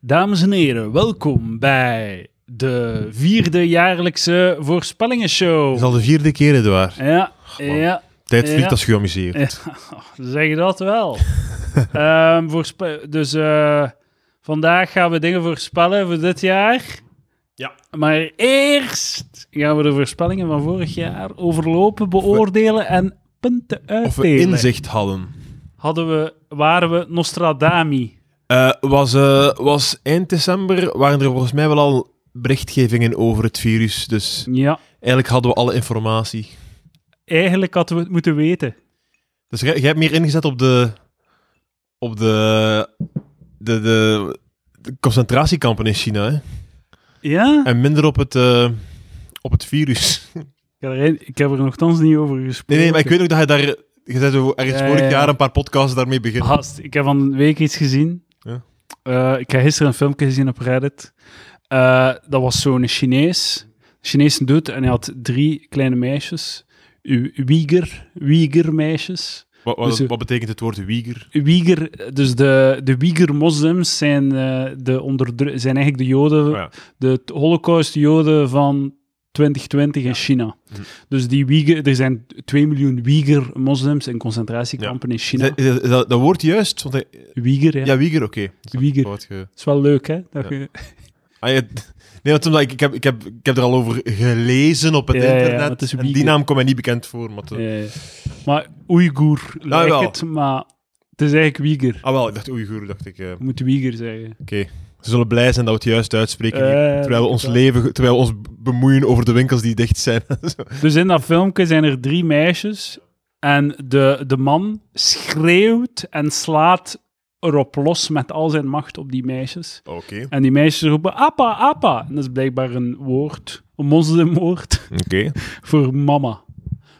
Dames en heren, welkom bij de vierde jaarlijkse voorspellingenshow. Het is al de vierde keer, Edouard. Ja, man. ja, Tijd vliegt Ja. als je amuseert. Ja, zeg je dat wel. Ehm, voorspe- dus eh, vandaag gaan we dingen voorspellen voor dit jaar. Ja. Maar eerst gaan we de voorspellingen van vorig jaar overlopen, beoordelen en punten Of we uitdelen. inzicht hadden. Hadden we, waren we Nostradami? Eh, was, eh, was eind december, waren er volgens mij wel al berichtgevingen over het virus. Dus Ja. eigenlijk hadden we alle informatie. Eigenlijk hadden we het moeten weten. Dus jij jij hebt meer ingezet op de... Op de... De, de, de concentratiekampen in China, hè? Ja? En minder op het... eh, op het virus. Ik heb er, ik heb er nogthans niet over gesproken. Nee, nee, maar ik weet ook dat hij daar... Je zei zo ergens Ja, vorig ja, ja. jaar een paar podcasts daarmee beginnen. Gast, ik heb van de week iets gezien. Ja. Eh, ik heb gisteren een filmpje gezien op Reddit. Eh, dat was zo'n Chinees. Een Chinese dude en hij had drie kleine meisjes. U- Uiger, Uiger meisjes. Wat, wat, Dus- wat betekent het woord Uyghur? Uiger, dus de, de Uiger moslims zijn, eh, de onderdru- zijn eigenlijk de joden, Oh ja. de t- holocaust-joden van 2020 in China. Mhm. Dus die Uiger, er zijn 2 miljoen Uiger moslims in concentratiekampen in Is China. dat, is dat, dat woord juist? Want hij- Uiger, ja. ja, Wieger, oké. Dat is Uyghur. wat ge- Dat is wel leuk, hè? Dat Ja. je- Ah, je- Nee, want omdat ik, ik, heb, ik, heb, ik heb er al over gelezen op het Ja, ja, ja, maar het internet. is en Uyghur. die naam komt mij niet bekend voor. Maar te- Ja, ja. Maar Oeigoer lijkt wel. het, maar het is eigenlijk Wieger. Ah wel, ik dacht Oeigoer, dacht ik. eh, Je moet Wieger zeggen. Ze zullen blij zijn dat we het juist uitspreken. hier, Eh, terwijl, we ons dat- leven, terwijl we ons bemoeien over de winkels die dicht zijn. Zo. Dus in dat filmpje zijn er drie meisjes en de, de man schreeuwt en slaat erop los met al zijn macht op die meisjes. Oké. En die meisjes roepen appa, appa. En dat is blijkbaar een woord, een moslimwoord, Oké. voor mama.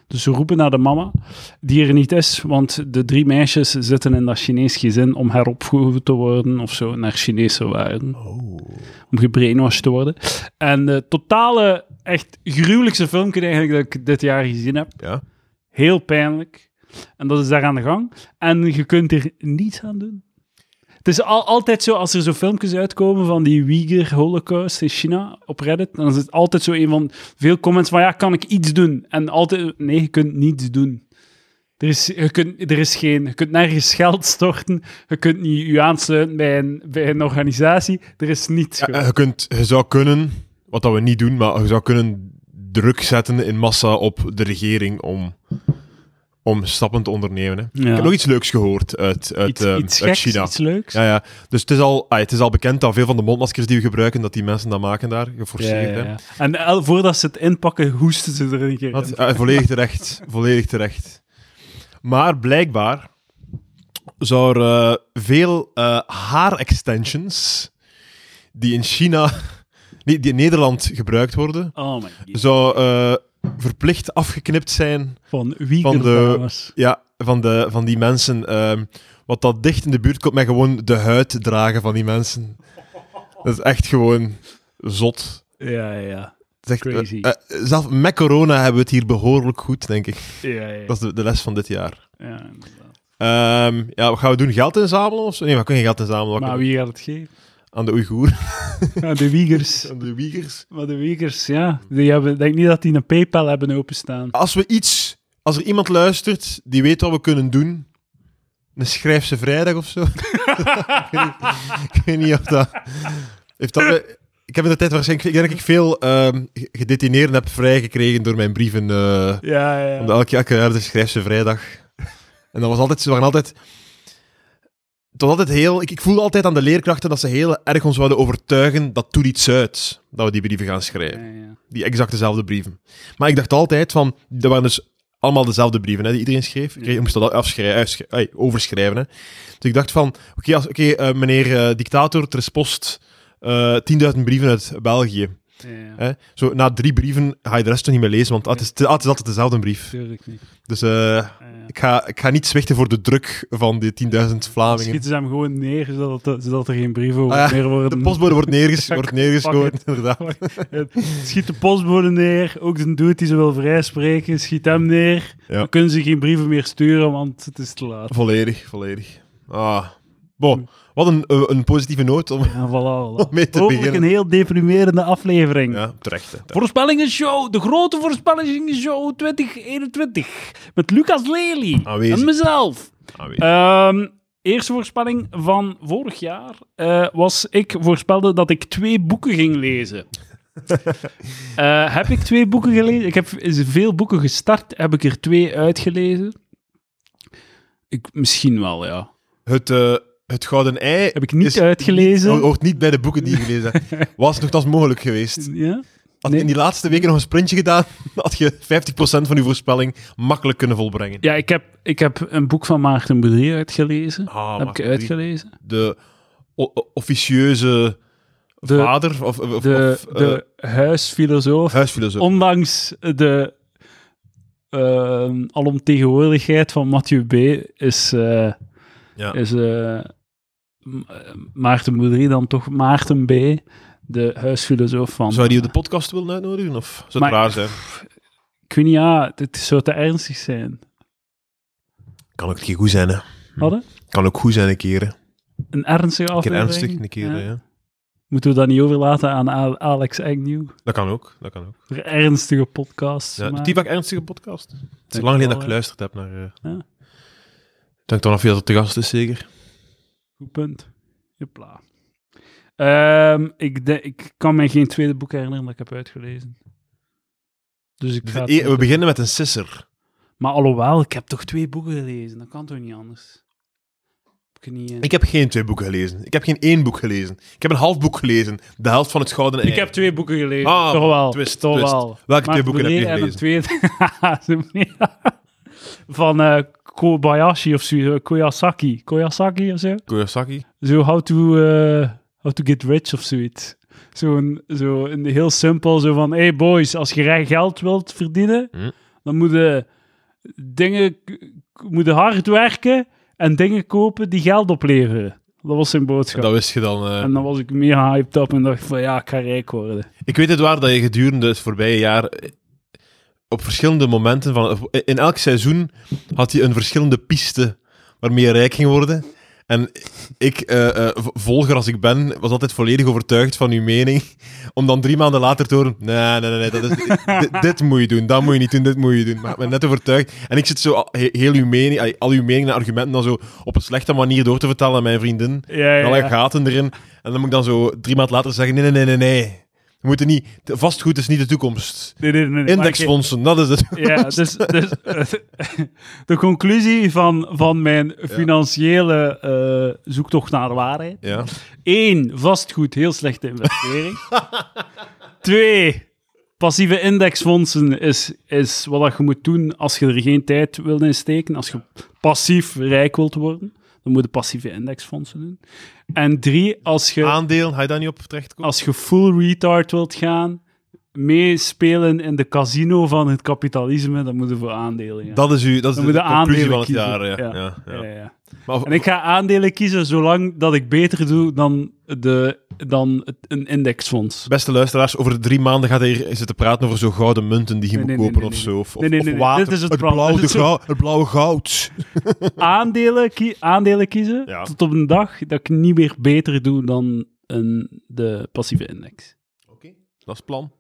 Dus ze roepen naar de mama, die er niet is, want de drie meisjes zitten in dat Chinees gezin om heropgevoed te worden of zo, naar Chinese waarden. om gebrainwashed te worden. En de totale, echt gruwelijkste filmpje eigenlijk dat ik dit jaar gezien heb. Ja. Heel pijnlijk. En dat is daar aan de gang. En je kunt er niets aan doen. Het is al, altijd zo, als er zo filmpjes uitkomen van die Uyghur Holocaust in China op Reddit, dan is het altijd zo een van veel comments van ja, kan ik iets doen? En altijd, nee, je kunt niets doen. Er is, je, kunt, er is geen, je kunt nergens geld storten, je kunt niet je aansluiten bij een, bij een organisatie, er is niets. Ja, gewoon. en je, kunt, je zou kunnen, wat dat we niet doen, maar je zou kunnen druk zetten in massa op de regering om, om stappen te ondernemen. Hè. Ja. Ik heb nog iets leuks gehoord uit, uit, iets, eh, iets uit geks, China. iets leuks. Ja, ja. Dus het is, al, ah, het is al bekend dat veel van de mondmaskers die we gebruiken, dat die mensen dat maken daar, geforceerd. Ja, ja, hè. ja. En el- voordat ze het inpakken, hoesten ze er een keer Want, in. eh, volledig terecht. volledig terecht. Maar blijkbaar zou er eh, veel eh haarextensions die in China, nee, die in Nederland gebruikt worden, Oh my god. zou eh, verplicht afgeknipt zijn Van wie Van de- ja, van, de, van die mensen. ehm, wat dat dicht in de buurt komt met gewoon de huid dragen van die mensen. Dat is echt gewoon zot. Ja, ja, ja. Dat is echt, Crazy. eh, eh, zelf met corona hebben we het hier behoorlijk goed, denk ik. Ja, ja, Dat is de, de les van dit jaar. ja, inderdaad. Ehm, ja, wat gaan we doen? Geld inzamelen of zo? Nee, we kunnen geen geld inzamelen. Wat Maar kunnen wie gaat het geven? we- Aan de Oeigoeren. Ja, de Wiegers. Aan de Wiegers. Maar de Wiegers, ja. Die hebben, ik denk niet dat die een PayPal hebben openstaan. Als we iets... Als er iemand luistert die weet wat we kunnen doen... Een schrijfse vrijdag of zo. ik, weet niet, ik weet niet of dat... Heeft dat ik heb in de tijd waarschijnlijk... Ik denk dat ik veel ehm, ge- gedetineerden heb vrijgekregen door mijn brieven... eh, Ja, ja. Omdat elke, elke jaar de schrijfse vrijdag. En dat was altijd, ze waren altijd. Het was altijd heel. Ik, ik voelde altijd aan de leerkrachten dat ze heel erg ons wilden overtuigen dat doet iets uit. Dat we die brieven gaan Ja, schrijven. ja. Die exact dezelfde brieven. Maar ik dacht altijd van. Dat waren dus allemaal dezelfde brieven hè, die iedereen schreef. Ik Ja. moest dat afschrijven, uitschri- ai, overschrijven. Hè. Dus ik dacht van. Oké, als- oké, eh, meneer eh, dictator, ter post eh, 10.000 brieven uit België. Ja, ja. Hè. Zo, na drie brieven ga je de rest toch niet meer lezen, want ah, het, is, ah, het is altijd dezelfde brief. Tuurlijk niet. Dus eh, Ja, ja. ik, ga, ik ga niet zwichten voor de druk van die 10.000 Vlamingen. Schieten ze hem gewoon neer, zodat, er- zodat er geen brieven over Ah, meer worden. De postbode wordt, neerges wordt Fuck neergeschoten, inderdaad. Schiet de postbode neer, ook de dude die ze wil vrijspreken, schiet hem neer. Ja. Dan kunnen ze geen brieven meer sturen, want het is te laat. Volledig, volledig. Ah, Bon, wat een, eh, een positieve noot om... En voilà, voilà. Om mee te Hopelijk beginnen. een heel deprimerende aflevering. Ja, terecht. hè, terecht. Voorspellingenshow, de grote voorspellingenshow 2021. Met Lucas Lely Aanwezig. en mezelf. Ah, weet je. Ehm, eerste voorspelling van vorig jaar eh, was ik voorspelde dat ik twee boeken ging lezen. Eh, heb ik twee boeken gelezen? Ik heb veel boeken gestart, heb ik er twee uitgelezen? Ik, misschien wel, ja. Het, eh, het gouden ei... Heb ik niet uitgelezen. niet- hoort niet bij de boeken die je gelezen hebt. Was nogthans mogelijk geweest. ja? Had Nee. je in die laatste weken nog een sprintje gedaan, had je 50% van je voorspelling makkelijk kunnen volbrengen. Ja, ik heb, ik heb een boek van Maarten Boudry uitgelezen. Ah, heb maar ik uitgelezen. De o- o- officieuze De, vader of, of, of- de, of, eh, de huisfilosoof, huisfilosoof. ondanks de ehm, alomtegenwoordigheid van Mathieu B., is, eh, Ja. is eh, M- eh, Maarten Boudry dan toch Maarten B., de huisfilosoof van... Zou je die op de podcast willen uitnodigen? Of zou het Maar- raar zijn? Ik weet niet, ja, het zou te ernstig zijn. Kan ook een keer goed zijn, hè. Hadden? Kan ook goed zijn een keer, hè. Een Een ernstige keer aflevering? ernstig, Hm. een keer, Ja. eh, ja. Moeten we dat niet overlaten aan A- Alex Agnew? Dat kan ook, dat kan ook. Voor ernstige podcasts. Ja, maar- die vaak ernstige podcast. Het is Denk lang wel, geleden dat ik hè. geluisterd heb naar... eh Ja. Ik denk dan af dat het te gast is, zeker. Goed punt. Jepla. Ehm, ik, de- ik kan mij geen tweede boek herinneren dat ik heb uitgelezen. Dus ik ga... het E- niet we doen. beginnen met een sisser. Maar alhoewel, ik heb toch twee boeken gelezen. Dat kan toch niet anders? Heb ik, niet, eh, Ik heb geen twee boeken gelezen. Ik heb geen één boek gelezen. Ik heb een half boek gelezen. De helft van het Gouden Ei. Ik heb twee boeken gelezen. Ah, toch wel. twist, toch twist. wel. Welke twee Maarten boeken heb je Boulay en een tweede- Van eh, Kobayashi of zo. Koyasaki. Koyasaki of zo. Kiyosaki. Zo how to, eh, how to get rich of zoiets. Zo'n zo een heel simpel, zo van, hey boys, als je rij geld wilt verdienen, Hm. dan moet je dingen, k- moet je hard werken en dingen kopen die geld opleveren. Dat was zijn boodschap. Dat wist je dan. eh. En dan was ik meer hyped op en dacht van, ja, ik ga rijk worden. Ik weet het waar dat je gedurende het voorbije jaar eh, op verschillende momenten van... In elk seizoen had je een verschillende piste waarmee je rijk ging worden. En ik, eh, eh, v- volger als ik ben, was altijd volledig overtuigd van uw mening. Om dan drie maanden later te horen... Nee, nee, nee, nee, dat is, dit, dit moet je doen, dat moet je niet doen, dit moet je doen. Maar ik ben net overtuigd. En ik zit zo al- he- heel uw mening, ay, al uw meningen en argumenten dan zo op een slechte manier door te vertellen aan mijn vriendin. Ja, En ja, alle ja. gaten erin. En dan moet ik dan zo drie maanden later zeggen: nee, nee, nee, nee, nee. We moeten niet. de- Vastgoed is niet de toekomst. Nee, nee, nee, nee, maar ik- Indexfondsen, dat is het. Ja, dus, dus eh, de conclusie van, van mijn financiële eh, zoektocht naar de waarheid Ja. Eén, vastgoed, heel slechte investering. Twee, passieve indexfondsen is, is wat dat je moet doen als je er geen tijd wilt in steken. Als je passief rijk wilt worden, dan moet je passieve indexfondsen doen. En drie, als je, Aandeel, ga je daar niet op terechtkomen? als je full retard wilt gaan, meespelen in de casino van het kapitalisme, dan moet je voor aandelen gaan. Dat is, uw, dat is Dan de, moet je conclusie van aandelen het kiezen. jaar. Ja. Ja. Ja, Ja, ja, ja. Maar of- En ik ga aandelen kiezen zolang dat ik beter doe dan, de, dan het, een indexfonds. beste luisteraars, over drie maanden gaat hij hier zitten praten over zo'n gouden munten die je Nee, moet nee, nee, kopen nee, of nee. zo. Of, of- Nee, nee, of nee, nee. water. Dit is het het, plan. blauwe, Dit is de grauw- het blauwe goud. Aandelen, kie- aandelen kiezen Ja. tot op een dag dat ik niet meer beter doe dan een, de passieve index. Oké, dat is het plan.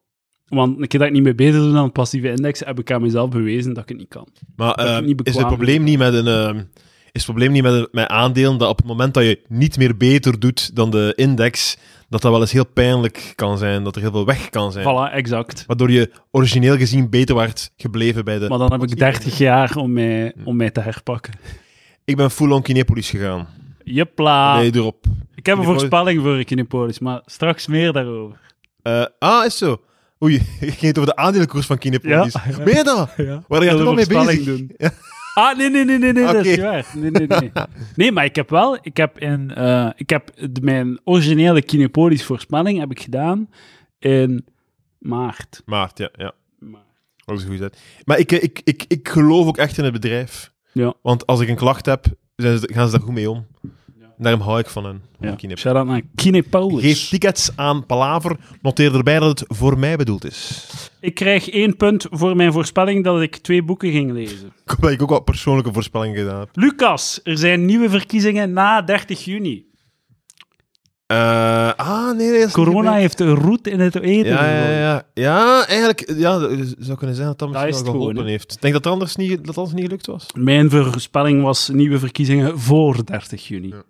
Want een keer dat ik niet meer beter doe dan een passieve index, heb ik aan mezelf bewezen dat ik het niet kan. Maar Dat je ehm, niet bekwaam is het probleem bent. niet met een. ehm, is het probleem niet met, een- met aandelen dat op het moment dat je niet meer beter doet dan de index, dat dat wel eens heel pijnlijk kan zijn, dat er heel veel weg kan zijn. Voilà, exact. Waardoor je origineel gezien beter werd gebleven bij de... Maar dan heb ik 30 jaar om mij, om mij te herpakken. Ik ben full-on Kinepolis gegaan. Jepla. Nee, erop. Ik heb een Kinepolis- voorspelling voor Kinepolis, maar straks meer daarover. Eh, ah, is zo. Oei, je ging het over de aandelenkoers van Kinepolis. Ja. Ben je dat? Ja. Waar ga Ik je er wil dan een dus. mee bezig? voorspelling doen. Ah, nee, nee, nee, nee, nee dat is niet Oké. waar. Nee, nee, nee. nee, maar ik heb wel, ik heb, in, eh, ik heb de- mijn originele kinepolis voorspelling heb ik gedaan in maart. Maart, ja. ja. maart. Dat is een goede zet. Maar ik, eh, ik, ik, ik geloof ook echt in het bedrijf. Ja. Want als ik een klacht heb, zijn ze- gaan ze daar goed mee om. Ja. Daarom hou ik van hen. Van Ja. Kinep. Shout-out naar Kine Paulus. Geef tickets aan Palaver. Noteer erbij dat het voor mij bedoeld is. Ik krijg één punt voor mijn voorspelling dat ik twee boeken ging lezen. Ik hoop dat ik ook wat persoonlijke voorspellingen gedaan heb. Lucas, er zijn nieuwe verkiezingen na 30 juni. Eh, ah, nee, nee. dat is Corona niet heeft een roet in het eten. Ja, ja, gegooid. ja. ja, eigenlijk ja, dat zou kunnen zijn dat dat misschien is wel het gewoon, geholpen hè. Dus heeft. Ik denk dat het anders niet, dat het anders niet gelukt was. Mijn voorspelling was nieuwe verkiezingen voor 30 juni. Ja.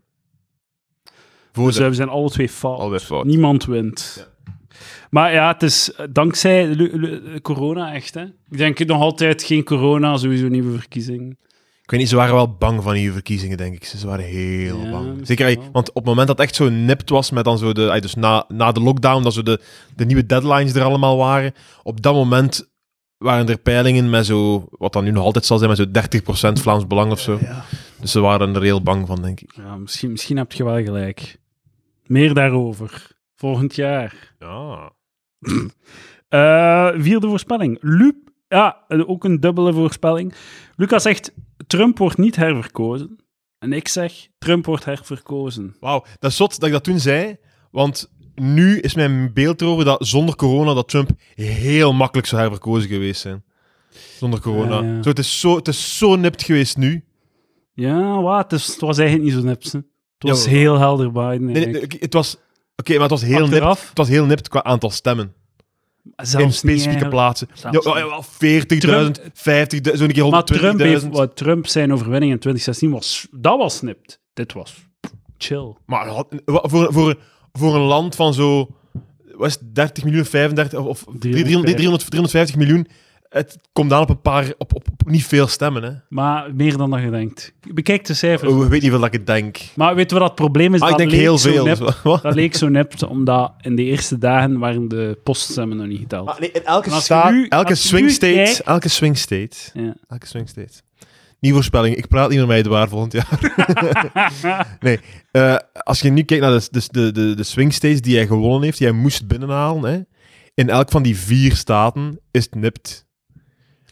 Dus Voor we zijn alle twee fout. Alweer fout. Niemand wint. Maar ja, het is eh, dankzij lu- lu- corona echt. Hè? Ik denk nog altijd geen corona, sowieso nieuwe verkiezingen. Ik weet niet, ze waren wel bang van die verkiezingen, denk ik. Ze waren heel Ja, bang. misschien Zeker, ey, wel. want op het moment dat het echt zo nipt was, met dan zo de, ey, dus na, na de lockdown, dat zo de, de nieuwe deadlines er allemaal waren, op dat moment waren er peilingen met zo, wat dan nu nog altijd zal zijn, met zo 30% Vlaams Belang of zo. Dus ze waren er heel bang van, denk ik. Ja, misschien, misschien heb je wel gelijk. Meer daarover. Volgend jaar. Ja. Eh, vierde voorspelling. Lu ja, eh, ook een dubbele voorspelling. Lucas zegt, Trump wordt niet herverkozen. En ik zeg, Trump wordt herverkozen. Wauw, dat is zot dat ik dat toen zei, want nu is mijn beeld erover dat zonder corona dat Trump heel makkelijk zou herverkozen geweest zijn. Zonder corona. Ja, ja. Zo, het, is zo, het is zo nipt geweest nu. Ja, wat? Het, is- het was eigenlijk niet zo nips. hè. Het was Ja, heel helder Biden. Nee, nee, eigenlijk. nee, het was... Oké, maar het was heel nipt. Achteraf, Het was heel nipt qua aantal stemmen. in zelfs niet specifieke eigenlijk. plaatsen. Ja, Zelfs ja, niet. wel 40.000, 50.000, zo'n Maar Trump, keer 120.000. heeft, wat Trump zijn overwinning in 2016 was, dat was snipt. Dit was chill. Maar had- wa- voor, voor, voor een land van zo... Wat is het, 30 miljoen, 35 of, of 300, 300, 350 miljoen... Het komt aan op een paar... Op, op, op niet veel stemmen, hè. Maar meer dan dat je denkt. Bekijk de cijfers. Ik weet niet wat ik het denk. Dus- Maar weet je wat het probleem is? Oh. Ah, dat ik denk leek heel zo veel. nep. Wat? Dat leek zo nep, omdat in de eerste dagen waren de poststemmen nog niet geteld. Ah, nee, in elke En als je staat, nu- elke als je swing nu state, kijkt- elke swing state, Ja. elke swing state. Nieuwe voorspelling, ik praat niet meer met Edouard volgend jaar. nee, eh, als je nu kijkt naar de, dus de, de, de swing states die hij gewonnen heeft, die hij moest binnenhalen, hè, in elk van die vier staten is het nipt.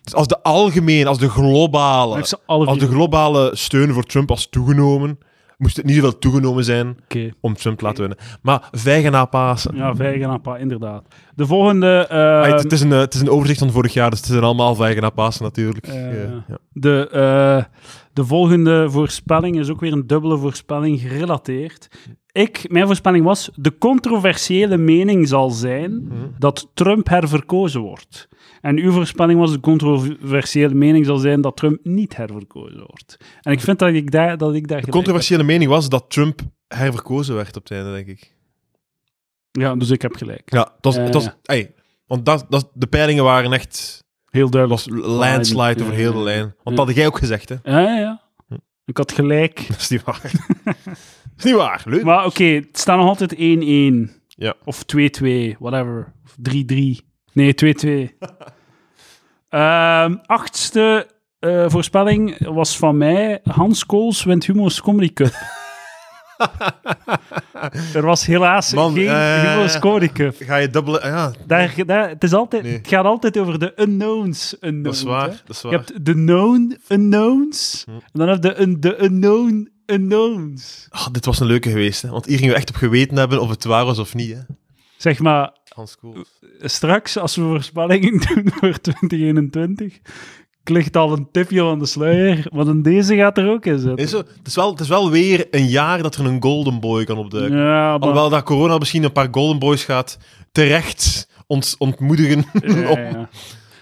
Dus als de algemene, als de Dan globale, heeft ze alle als de vier- globale steun voor Trump was toegenomen, moest het niet zoveel toegenomen zijn Oké. om Trump te laten winnen. Maar vijgen na Pasen. Ja, vijgen en een paar, inderdaad. De volgende... eh, Ah, het, het is een, eh, het is een overzicht van vorig jaar, dus het zijn allemaal vijgen na Pasen natuurlijk. Eh, Eh, ja. De, eh, de volgende voorspelling is ook weer een dubbele voorspelling gerelateerd. Ik, mijn voorspelling was: de controversiële mening zal zijn dat Trump herverkozen wordt. En uw voorspelling was: de controversiële mening zal zijn dat Trump niet herverkozen wordt. En ik vind dat ik daar. Dat ik daar De gelijk controversiële mening was dat Trump herverkozen werd op het einde, denk ik. heb. Ja, dus ik heb gelijk. Ja, het was... het was Ja, ey, want dat, dat, de peilingen waren echt... Heel Dat duidelijk. was landslide Ja, over heel de ja, lijn. Want ja. dat had jij ook gezegd, hè. Ja, ja, ja. Ik had gelijk. Dat is niet waar. dat is niet waar, leuk. Maar oké, het staat nog altijd 1-1. Ja. Of 2-2, whatever. Of 3-3. Nee, 2-2. Ehm, achtste eh, voorspelling was van mij. Hans Kools wint Humo's Comedy Cup. er was helaas Man, geen eh, Humo's Comedy Cup. Ga je dubbele... ah, Ja, Daar, daar, het, is altijd, Nee. het gaat altijd over de unknowns. unknowns dat is hè. waar. Hm. Dat is Je waar. hebt de known unknowns. En dan heb je de, un- de unknown unknowns. Ah, dit was een leuke geweest, hè. Want hier gingen we echt op geweten hebben of het waar was of niet, hè. Zeg maar, Hans Koels. straks, als we voorspellingen doen voor 2021, ligt al een tipje van de sluier, want in deze gaat er ook in zitten. Is zo, het, is wel, het is wel weer een jaar dat er een Golden Boy kan opduiken. Ja, maar... Alhoewel dat corona misschien een paar Golden Boys gaat terecht ons ontmoedigen. Ja, ja, om- ja.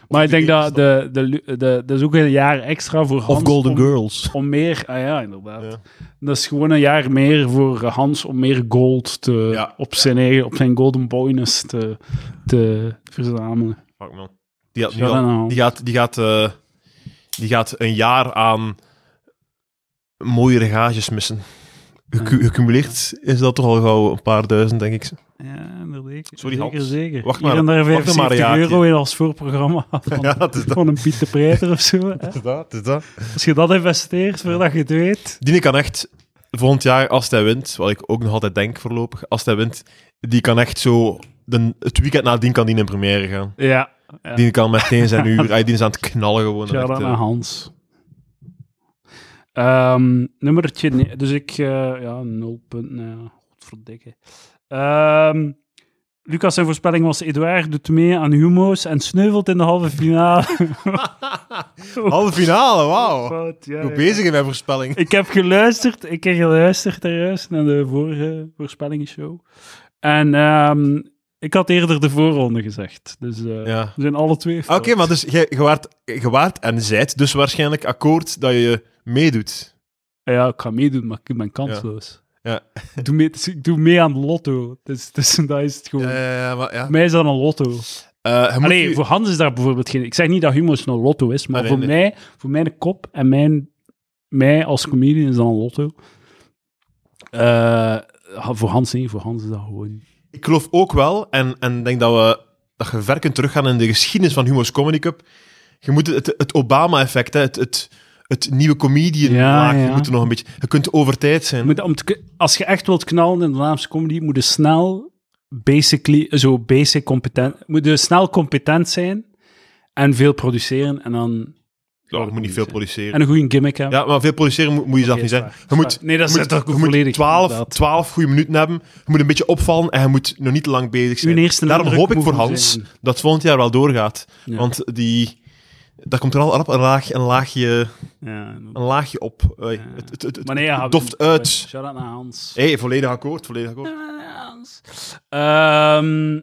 Maar ik denk dat de, de, lu- de, dat is ook een jaar extra voor Hans. om, Girls. Om meer... Ah ja, inderdaad. Ja. Dat is gewoon een jaar meer voor eh, Hans om meer gold te, Ja. op, zijn eigen, op zijn golden boyness te, te verzamelen. Fuck man. Die gaat, nu Shout out al- naar Hans. die gaat, die gaat, eh, die gaat een jaar aan mooie regages missen. Gecu- Gecumuleerd is dat toch al gauw een paar duizend, denk ik. Ja, inderdaad. Sorry, zeker, Hans. zeker. Wacht Hier maar- en daar wacht maar een 75 jaartje. euro in als voorprogramma van, Ja, het is dat. van een Piet de Preter of zo. hè. is dat, is dat. Als je dat investeert, voordat je het weet. Die kan echt volgend jaar, als hij wint, wat ik ook nog altijd denk voorlopig, als hij wint, die kan echt zo... De, het weekend nadien kan die in première gaan. Ja. ja. Die kan meteen zijn uur... ah, die is aan het knallen gewoon. Shout-out Echt, eh, naar Hans. Ehm nummertje, nee, dus ik, eh, ja, 0 punten. ja, godverdikke. Ehm, Lucas, zijn voorspelling was: Edouard doet mee aan humo's en sneuvelt in de halve finale. Halve finale, wauw. Fout, ja, Goed ja. Oh, bezig in mijn voorspelling. Ik heb geluisterd, ik heb geluisterd juist naar de vorige voorspellingsshow. En ehm, ik had eerder de voorronde gezegd. Dus eh, Ja. we zijn alle twee. Oké, fout. maar dus jij gewaart, gewaart en zijt dus waarschijnlijk akkoord dat je meedoet. Ah, Ja, ik ga meedoen, maar ik ben kansloos. Ja. Ik, doe mee, dus ik doe mee aan de lotto. Dus, dus dat is het gewoon. Ja, ja, ja, maar Eh, ja. Voor mij is dat een lotto. Eh, je moet Allee, nu- voor Hans is daar bijvoorbeeld geen... Ik zeg niet dat humo's een lotto is, maar Nee, voor, nee. Mij, voor mijn kop en mijn, mij als comedian is dat een lotto. Eh, voor Hans niet, voor Hans is dat gewoon... Ik geloof ook wel, en, en denk dat, we, dat je ver kunt teruggaan in de geschiedenis van Humo's Comedy Cup. Je moet het, het Obama-effect, hè, het, het, het nieuwe comedian Ja, maken, je ja. moet er nog een beetje... Je kunt over tijd Je zijn. moet, om te kun- als je echt wilt knallen in de Vlaamse comedy, moet je snel, basically, zo basic competent, moet je snel competent zijn en veel produceren en dan... Ja, je moet niet veel produceren. En een goede gimmick hebben. Ja, maar veel produceren moet, moet je zelf niet zijn. is waar, Je is moet, waar. Nee, dat je is moet- toch je volledig moet 12, inderdaad. 12 goede minuten hebben. Je moet een beetje opvallen en je moet nog niet te lang bezig zijn. Uw eerste Daarom indruk hoop ik moet voor goed Hans zijn. dat het volgend jaar wel doorgaat. Ja. Want die, daar komt er al op een, laag, een, laagje, Ja. een laagje op. Eh, het het, het, het Maar nee, ja, doft uit. Shout-out naar Hans. Hé, hey, volledig akkoord, volledig akkoord. Ehm,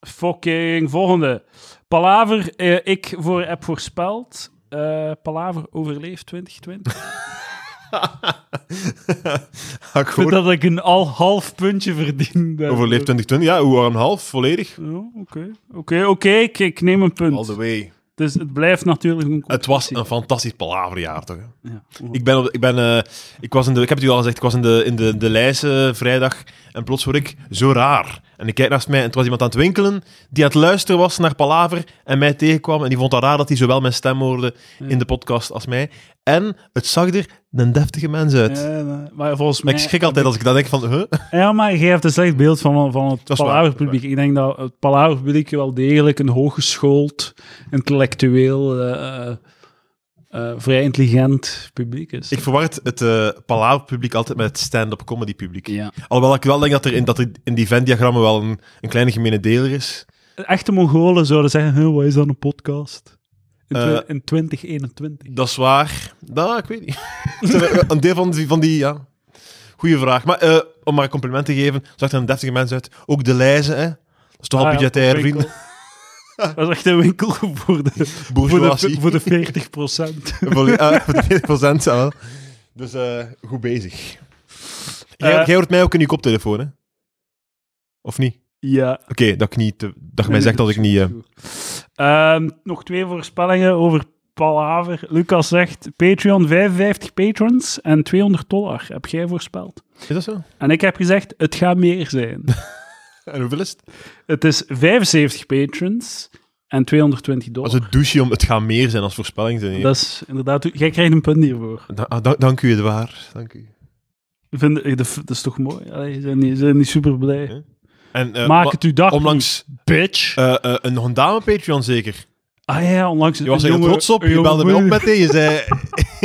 fucking volgende. Palaver, eh, ik voor heb voorspeld. Eh, Palaver overleeft 2020. Ik vind akkoord. dat ik een al half puntje verdien. daar. Overleefd 2020. Ja, hoe een half, volledig. Ja, Oké, oké, oké. Ik ik neem een All punt. the way. Dus het blijft natuurlijk een Het was een fantastisch palaverjaar, toch? hè? Ja. Ik, ben op, ik, ben, eh, ik, was in de, ik heb het u al gezegd, ik was in de, in de, de lijst eh, vrijdag en plots hoor ik zo raar. En ik kijk naast mij en het was iemand aan het winkelen die aan het luisteren was naar Palaver en mij tegenkwam. En die vond dat raar dat hij zowel mijn stem hoorde Ja. in de podcast als mij. En het zag er een deftige mens uit. Ja, maar- maar volgens Maar mij... ik schrik altijd als ik dan denk van, huh? Ja, maar jij hebt een slecht beeld van, van het Dat is waar, Palaver-publiek. Ik denk dat het Palaver-publiek wel degelijk een hooggeschoold, intellectueel, eh, eh, eh, vrij intelligent publiek is. Ik verward het eh Palaver publiek altijd met het stand-up comedy publiek. ja. Alhoewel ik wel denk dat er in, dat er in die Venn-diagrammen wel een, een kleine gemene deler is. Echte Mongolen zouden zeggen, "Huh, wat is dan een podcast? In, twi- Eh, in 2021. Dat is waar. Dat, ik weet niet. een deel van die, van die ja. Goeie vraag. Maar eh, om maar een compliment te geven, zag er een deftige mens uit. Ook de lijzen, hè. Dat is toch al Ah ja, budgetair, voor de vrienden. winkel. Dat is echt een winkel voor de, voor de, Bourgeoisie. voor de 40 procent. Voor de- eh, voor de 40%, jawel. Dus eh, goed bezig. Jij, Eh. jij hoort mij ook in je koptelefoon, hè? Of niet? Ja. Oké, dat ik niet... te- dat je mij Nee, zegt dat dat ik niet... eh, Ehm, nog twee voorspellingen over Palaver. Lucas zegt Patreon 55 patrons en 200 dollar. Heb jij voorspeld? is dat zo? En ik heb gezegd, het gaat meer zijn. En hoeveel is het? het is 75 patrons en 220 Als dollar. het douche om... Het gaat meer zijn als voorspelling. Zijn, Dat is inderdaad... Jij krijgt een punt hiervoor. Da- ah, da- dank u, Edouard. Dank u. Vind, eh, dat dat is toch mooi? Allee, ze zijn niet, ze zijn niet super blij. Ja. En, eh, Maak wa- het uw dag Onlangs... niet, bitch. eh eh, een, nog een dame-Patreon zeker. ah ja, ja, onlangs... Je was een er heel jonge- trots op. een Je jonge belde mij op moeder- met die. Je zei,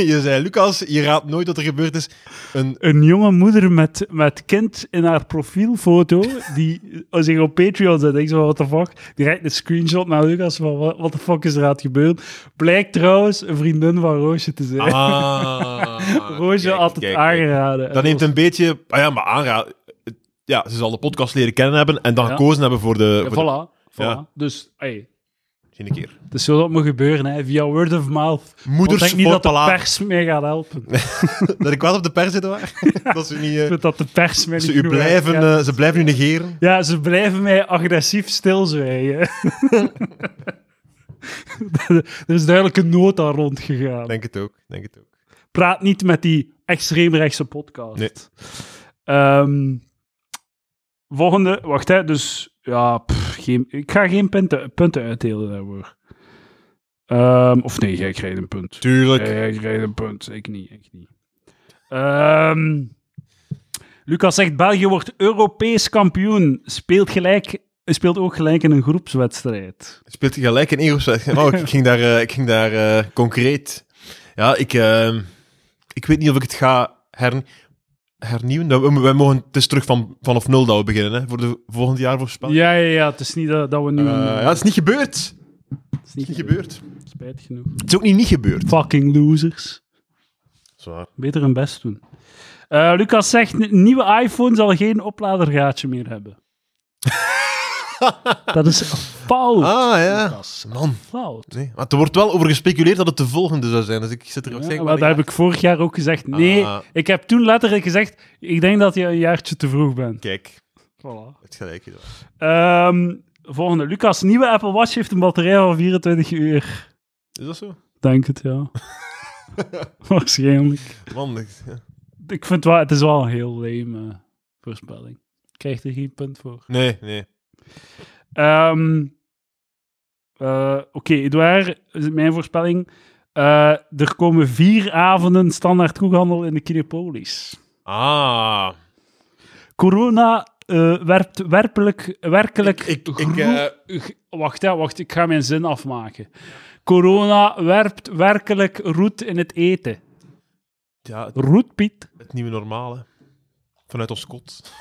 je zei, Lucas, je raadt nooit wat er gebeurd is. Een, een jonge moeder met, met kind in haar profielfoto, die zich op Patreon zet. Ik zo, what the fuck? Direct een screenshot naar Lucas van, wa- what the fuck is er aan het gebeuren? Blijkt trouwens een vriendin van Roosje te zijn. ah, Roosje kijk, had het kijk, kijk. aangeraden. En Dat neemt was- een beetje... Ah ja, maar aanraad... Ja, ze zal de podcast leren kennen hebben en dan Ja. gekozen hebben voor de... Ja, voor de- voilà. voilà. Ja. Dus, hey, Geen keer. het is zo dat moet gebeuren, hè, via word of mouth. Want ik Moeders denk niet voor dat de Palaver. pers mij gaat helpen. Dat ik wel op de pers zit, waar? dat ze niet... eh, Ik vind dat de pers mij ze, niet u goed blijven, werkt, ja. eh, ze blijven u negeren. Ja, ze blijven mij agressief stilzwijgen. er is duidelijk een nood daar rondgegaan. Denk het ook, denk het ook. Praat niet met die extreemrechtse podcast. Nee. Ehm, volgende, wacht hè, dus ja, pff, geen, ik ga geen punten, punten uitdelen daarvoor. Ehm, of nee, jij krijgt een punt. Tuurlijk. Jij krijgt een punt, ik niet, ik niet. Ehm, Lucas zegt, België wordt Europees kampioen. Speelt, gelijk, speelt ook gelijk in een groepswedstrijd. Speelt hij gelijk in één groepswedstrijd? Oh, ik ging daar, eh, ik ging daar eh, concreet. Ja, ik, eh, Ik weet niet of ik het ga her, hernieuwen. Nou, we- Wij mogen, het is terug van, vanaf nul dat we beginnen, hè, voor de volgend jaar voor Spanje. Ja, ja, ja. Het is niet dat, dat we nu... Eh, een- ja, het is niet gebeurd. het is niet Niet gebeurd. Spijt genoeg. Het is ook niet niet gebeurd. Fucking losers. Zwaar. Beter hun best doen. Eh, Lucas zegt, "N- nieuwe iPhone zal geen opladergaatje meer hebben. dat is fout. Ah ja. Lucas. Man, Fout. nee. Maar er wordt wel over gespeculeerd dat het de volgende zou zijn. Dus ik zit Ja, er waarschijnlijk maar wel dat in. heb ik vorig jaar ook gezegd. Nee, Ah. ik heb toen letterlijk gezegd, ik denk dat je een jaartje te vroeg bent. Kijk, Voilà. het gelijk. hier. Ehm, volgende. Lucas, nieuwe Apple Watch heeft een batterij van 24 uur. Is dat zo? Denk het, ja. Waarschijnlijk. Man, ik- ja. Ik vind wel, het is wel een heel lame eh, voorspelling. Ik krijg er geen punt voor. Nee, nee. Ehm, eh, Oké, Edouard, is mijn voorspelling. Eh, er komen vier avonden standaard koehandel in de Kinepolis. Ah. Corona eh, werpt werpelijk, werkelijk. Ik- ik- eh, ik, groe- g- Wacht, hè, wacht, ik ga mijn zin afmaken. Corona werpt werkelijk roet in het eten. Ja, het, Roet, Piet. het nieuwe normale. Vanuit ons kot.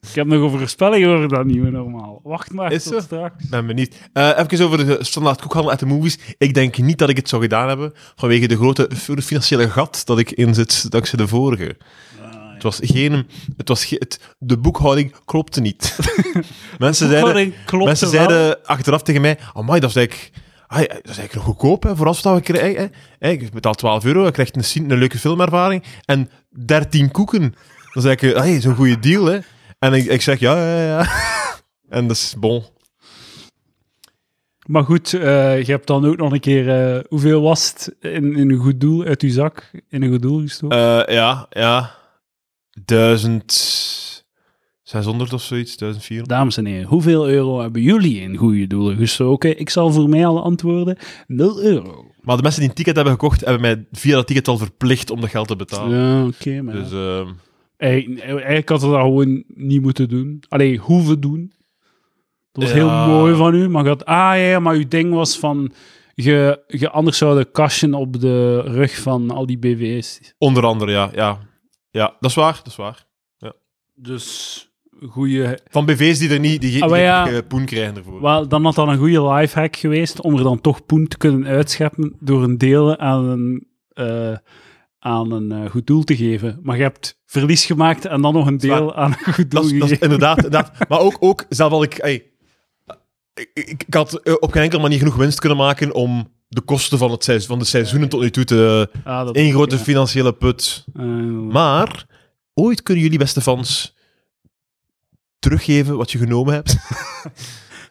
Ik heb nog over voorspellingen over dat nieuwe normaal. Wacht maar Is tot zo? straks. Ben benieuwd. Eh even over de standaard koekhandel uit de movies. Ik denk niet dat ik het zou gedaan hebben vanwege de grote financiële gat dat ik in zit dankzij de vorige. Ah, Het was geen... Het was ge- het, de boekhouding klopte niet. mensen zeiden, Boekhouding klopte mensen wel. zeiden achteraf tegen mij, amai, dat is eigenlijk... ai, dat is eigenlijk nog goedkoop, hè, voor alles wat we krijgen. Hè. Je betaalt 12 euro, je krijgt een, cin- een leuke filmervaring en 13 koeken. Dat is eigenlijk ai, zo'n goede deal. Hè. En ik, ik zeg, ja, ja, ja. en dat is bon. Maar goed, eh, je hebt dan ook nog een keer... eh, hoeveel was het in, in een goed doel, uit je zak, in een goed doel gestoken? Eh, ja, ja. 1600 of zoiets, 1400. Dames en heren, hoeveel euro hebben jullie in goede doelen gestoken? Ik zal voor mij alle antwoorden 0 euro. Maar de mensen die een ticket hebben gekocht, hebben mij via dat ticket al verplicht om dat geld te betalen. Ja, oké, maar... Dus ehm, Eigen- Eigenlijk had we dat gewoon niet moeten doen. Allee, hoeven doen. Dat was Ja. heel mooi van u. Maar je had, ah ja, ja, maar uw ding was van... Je, je anders zouden kasten op de rug van al die BV's. onder andere, ja, ja. Ja, dat is waar, dat is waar. Dus, goede... Van BV's die er niet, die, ge- Ah, maar die ja. ge- poen krijgen ervoor. Wel, dan had dat een goede lifehack geweest om er dan toch poen te kunnen uitscheppen door een deel aan een, eh, aan een eh, goed doel te geven. Maar je hebt verlies gemaakt en dan nog een waar. deel aan een goed doel Dat is, dat is gegeven. inderdaad, inderdaad. Maar ook, ook zelf al ik, ey, ik, ik- ik had eh, op geen enkele manier genoeg winst kunnen maken om de kosten van, het seizoen, van de seizoenen tot nu toe te... Ah, dat- één grote ja. financiële put. Eh, Maar ooit kunnen jullie, beste fans, teruggeven wat je genomen hebt.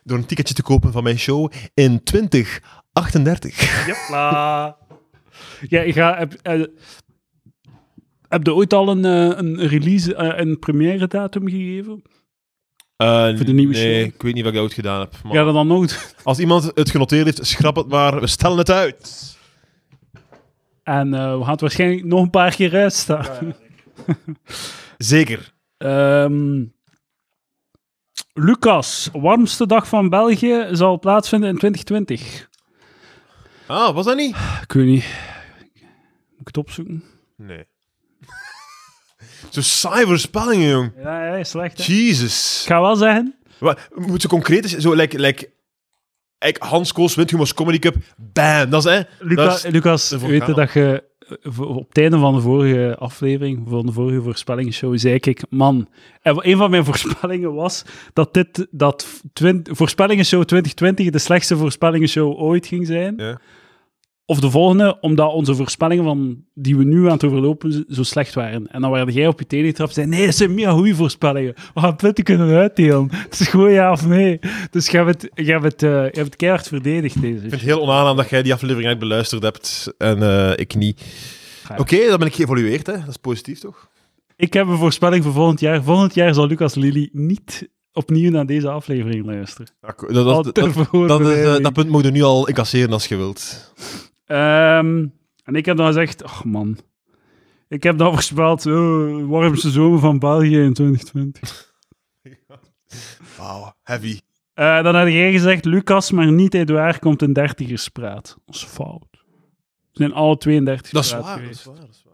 door een ticketje te kopen van mijn show in 2038. Jepla. Ja, ik ga... Heb, eh, heb je ooit al een, eh, een release, eh, een première datum gegeven? Voor de nieuwe Eh, nee, show. ik weet niet wat ik ooit gedaan heb. Maar Ja, dat dan nooit. Als iemand het genoteerd heeft, schrap het maar. We stellen het uit. En eh, we gaan het waarschijnlijk nog een paar keer uitstaan. Zeker. Ehm, Lucas, warmste dag van België zal plaatsvinden in 2020. Ah, was dat niet? Ik weet niet. Moet ik het opzoeken? Nee. Zo saai voorspellingen, jong. Ja, ja slecht. hè? Jesus. Ik ga wel zeggen, Wa- Moet ze concreet zijn? Zo, like, like, like Hans Koos wint Humo's Comedy Cup. Bam. Dat is, hè? Luca- dat is- Lucas, we de vulkaan. weten dat je eh, voor- op het einde van de vorige aflevering, van de vorige voorspellingsshow, zei ik, man, en een van mijn voorspellingen was dat dit, dat twin- voorspellingsshow 2020 de slechtste voorspellingsshow ooit ging zijn. Ja. Of de volgende, omdat onze voorspellingen van, die we nu aan het overlopen z- zo slecht waren. En dan waren jij op je tenen getrapt en zei, nee, dat zijn meer goede voorspellingen. We gaan punten kunnen uitdelen. Het is gewoon ja of nee. Dus jij hebt, het- jij hebt, het, eh, jij hebt het keihard verdedigd deze. Ik vind het heel onaangenaam dat jij die aflevering eigenlijk beluisterd hebt en eh, ik niet. Ja. Oké, dan ben ik geëvolueerd, hè? Dat is positief, toch? Ik heb een voorspelling voor volgend jaar. Volgend jaar zal Lucas Lily niet opnieuw naar deze aflevering luisteren. Ja, ko- dat, Al dat, dat, ter dat, dat, eh, voorbereiding. dat punt moet je nu al incasseren als je wilt. Ehm, en ik heb dan gezegd, ach man. Ik heb dan voorspeld, eh, warmste zomer van België in 2020. Wauw, heavy. Eh, dan had jij gezegd, Lucas, maar niet Edouard, komt in 30 praat. Dat is fout. We zijn alle 32 Dat is praat waar, dat geweest. is waar. dat is waar.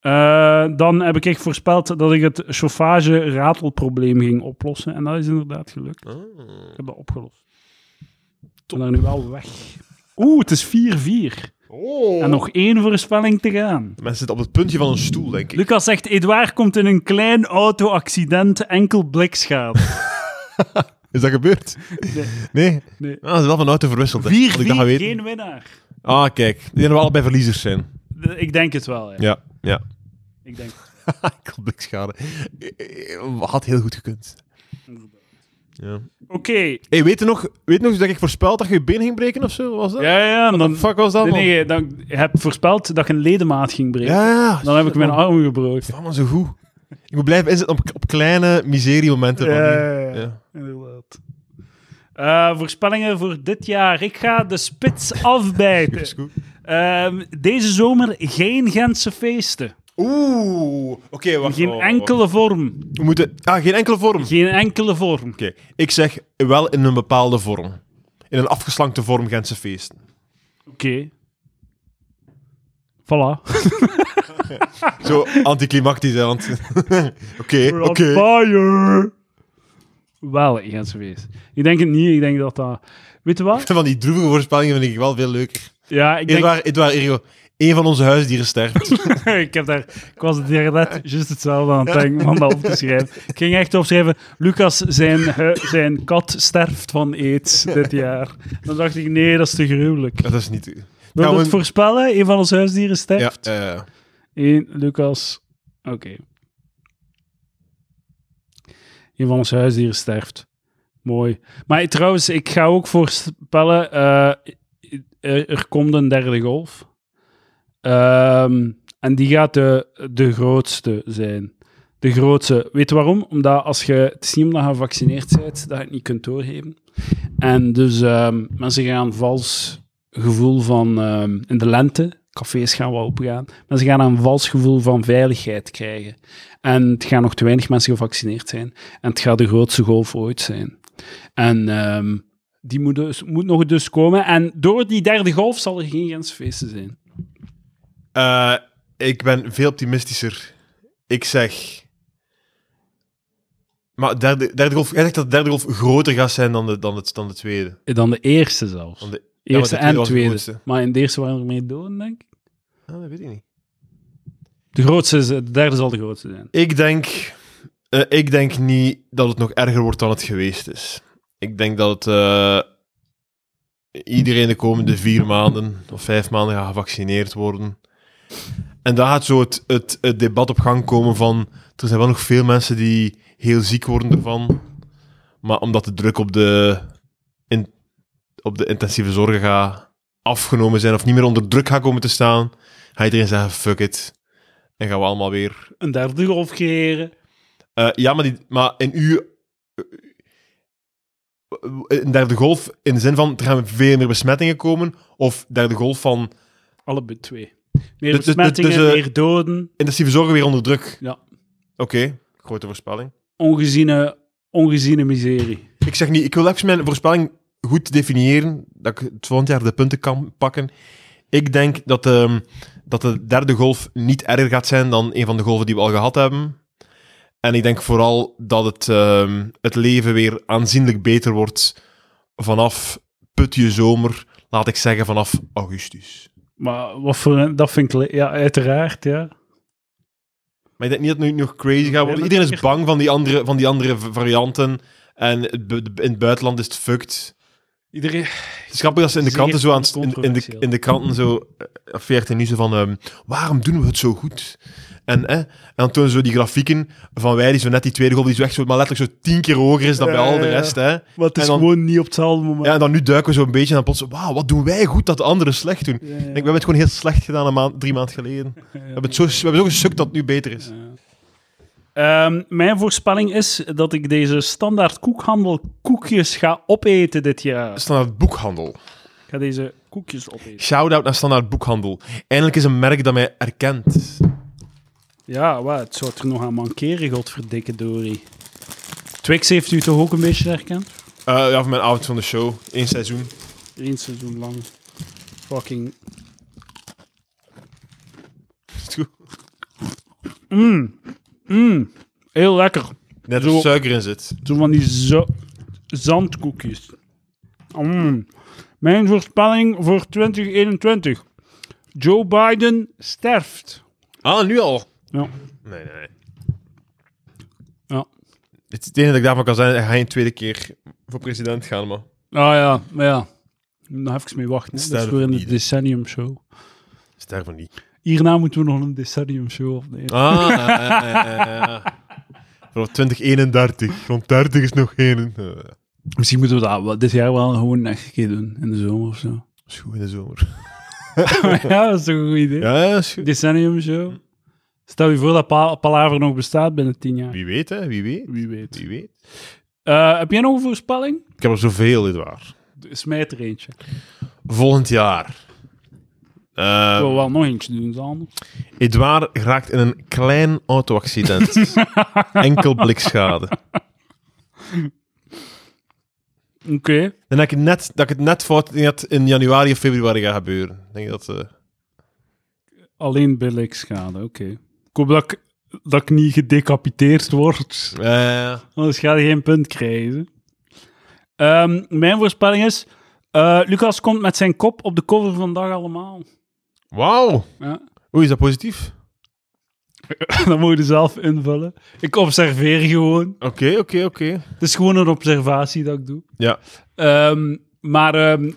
Eh, dan heb ik echt voorspeld dat ik het chauffage-ratelprobleem ging oplossen. En dat is inderdaad gelukt. Ik heb dat opgelost. Ik ben er nu wel weg. Oeh, het is 4-4. Oh. En nog één voorspelling te gaan. De mensen zitten op het puntje van een stoel, denk ik. Lucas zegt, Edouard komt in een klein auto-accident enkel blikschade. Is dat gebeurd? Nee. Nee? Nee. Ah, ze is wel van auto verwisseld. hè. Had 4-4, ik dat geweten. geen winnaar. Ah, kijk. Die zijn we allebei verliezers zijn. De- Ik denk het wel, ja. Ja, ja. Ik denk het. ik had blikschade. Eh, eh, Had heel goed gekund. Ja. Oké. Hey, weet je nog, weet je nog dat ik voorspeld dat je je been ging breken of zo? Wat Was dat? Ja, ja, en dan... Fuck was dat, Nee, man? nee, dan je hebt voorspeld dat ik een ledemaat ging breken. Ja, ja. Dan heb ik mijn man. arm gebroken. Van, man, zo goed. Ik moet blijven inzetten op, op kleine miseriemomenten. van nu. Ja. inderdaad. Eh, voorspellingen voor dit jaar. Ik ga de spits Dat afbijten. is goed. Ehm, deze zomer geen Gentse feesten. Oeh. Oké, wacht. Geen wacht, wacht. enkele vorm. We moeten... Ah, geen enkele vorm. Oké. Geen enkele vorm. Ik zeg wel in een bepaalde vorm. In een afgeslankte vorm Gentse feesten. Oké. Voilà. Zo anticlimactisch, hè, want... Oké, oké. We're on fire. Wel, Gentse feest. Ik denk het niet. Ik denk dat dat... Weet je wat? Van die droevige voorspellingen vind ik wel veel leuker. Ja, ik denk... Edouard, Edouard Ergo, één van onze huisdieren sterft. ik, heb daar, ik was het hier net juist hetzelfde aan het denken om dat op te schrijven. Ik ging echt opschrijven, Lucas, zijn, hu- zijn kat sterft van aids dit jaar. Dan dacht ik, nee, dat is te gruwelijk. dat is niet... Wil je Nou, het een- voorspellen? Een van ons huisdieren Ja, sterft. eh, Eén, Lucas. Oké. Een van ons huisdieren sterft. Mooi. Maar trouwens, ik ga ook voorspellen, eh, er, er komt een derde golf. Ehm, en die gaat de, de grootste zijn. De grootste. Weet je waarom? Omdat als je het is niet omdat je gevaccineerd bent, dat je het niet kunt doorgeven. En dus ehm, mensen gaan vals gevoel van ehm, in de lente, cafés gaan wel opengaan, mensen gaan een vals gevoel van veiligheid krijgen. En het gaan nog te weinig mensen gevaccineerd zijn. En het gaat de grootste golf ooit zijn. En ehm, die moet, dus, moet nog dus komen. En door die derde golf zal er geen grensfeesten zijn. eh, ik ben veel optimistischer. Ik zeg... Maar derde, derde golf, jij zegt dat de derde golf groter gaat zijn dan de, dan het, dan de tweede. Eh, Dan de eerste zelfs. Dan de- ja, want eerste de tweede en was de tweede. grootste. maar in de eerste waren er meer doden, denk ik. Ah, dat weet ik niet. De grootste, is- eh, de derde zal de grootste zijn. Ik denk, eh, ik denk niet dat het nog erger wordt dan het geweest is. Ik denk dat het, eh, iedereen de komende vier maanden of vijf maanden gaat gevaccineerd worden. En daar gaat zo het, het, het debat op gang komen van... Er zijn wel nog veel mensen die heel ziek worden ervan. Maar omdat de druk op de, in, op de intensieve zorgen gaat afgenomen zijn... of niet meer onder druk gaat komen te staan... gaat iedereen zeggen, fuck it. En gaan we allemaal weer Een derde golf creëren. eh, ja, maar, die, maar in uw. Een derde golf in de zin van er gaan veel meer besmettingen komen. Of derde golf van Allebei twee. Meer Dus- dus- besmettingen, dus, eh, meer doden. intensieve zorgen weer onder druk. Ja. Oké, grote voorspelling. Ongeziene, ongeziene miserie. Ik zeg niet, ik wil even mijn voorspelling goed definiëren. Dat ik het volgend jaar de punten kan pakken. Ik denk dat, ehm, dat de derde golf niet erger gaat zijn dan een van de golven die we al gehad hebben. En ik denk vooral dat het, ehm, het leven weer aanzienlijk beter wordt vanaf putje zomer, laat ik zeggen vanaf augustus. Maar wat voor een, dat vind ik, le- ja, uiteraard, ja. Maar ik denk niet dat het nu nog crazy gaat worden. maar Iedereen is hier- bang van die andere, van die andere v- varianten. En het bu- in het buitenland is het fucked. Iedereen, Het is grappig dat ze in de Zeer kranten zo aan het- in, in, de, controversieel. in de kranten zo eh, of VRT nu zo van ehm, waarom doen we het zo goed? En, eh, en dan tonen ze zo die grafieken van wij die zo net die tweede golf die zo echt zo, maar letterlijk zo tien keer hoger is dan bij Ja, al ja, de ja. rest. Hè. Ja, Maar het En is dan- gewoon niet op hetzelfde moment. en dan nu duiken we zo een beetje en dan plots wauw, wat doen wij goed dat de anderen slecht doen? Ik Ja, ja. denk, we hebben het gewoon heel slecht gedaan een maand, drie maanden geleden. We Ja. hebben het zo, we hebben zo gesukt dat het nu beter is. Ehm, mijn voorspelling is dat ik deze standaard koekhandel koekjes ga opeten dit jaar. Standaard Boekhandel. Ik ga deze koekjes opeten. Shout-out naar Standaard Boekhandel. Eindelijk is een merk dat mij erkent. Ja, wat, het zou er nog aan mankeren, godverdikke dorie. Twix heeft u toch ook een beetje herkend? Eh, ja, van mijn avond van de show. Eén seizoen. Eén seizoen lang. Fucking... Is het goed? Mm. Mm. Heel lekker. Net Zo. als suiker in zit. Zo van die za- zandkoekjes. Mm. Mijn voorspelling voor 2021. Joe Biden sterft. Ah, nu al? Ja. Nee, nee, nee. Ja. Het, is het enige dat ik daarvan kan zijn, hij een tweede keer voor president gaan, maar... Ah ja, maar ja. Nog even mee wachten. hè. Dat is Sterven weer in de niet, hè. decennium show. Sterven niet. Hierna moeten we nog een decennium show opnemen. Ah, eh, eh, eh. Vanaf 2031. Rond 30 is nog geen. Eh, Dat Misschien moeten we dat wel- dit jaar wel gewoon een echte keer doen. In de zomer of zo. is goed in de zomer. ja, dat is toch een goed idee. Ja, dat is goed. Decennium show. Stel je voor dat pa Palaver nog bestaat binnen tien jaar. Wie weet, hè? Wie weet? Wie weet. Wie weet? Eh, heb jij nog een voorspelling? Ik heb er zoveel, dit waar. Smijt er eentje. Volgend jaar. Ik Eh, wil wel nog eentje doen, dan. Edouard raakt in een klein auto-accident. Enkel blikschade. Oké. Dan denk ik net dat ik het net fout net in januari of februari gaat gebeuren. Ik Denk dat, eh, Alleen billikschade, oké. Ik hoop dat ik, dat ik niet gedecapiteerd word. eh, Anders ga je geen punt krijgen. Ehm, mijn voorspelling is... eh, Lucas komt met zijn kop op de cover vandaag allemaal. Wauw. Ja. Oei, is dat positief? dat moet je zelf invullen. Ik observeer gewoon. Oké, oké, oké. Het is gewoon een observatie dat ik doe. Ja. Ehm, maar ehm,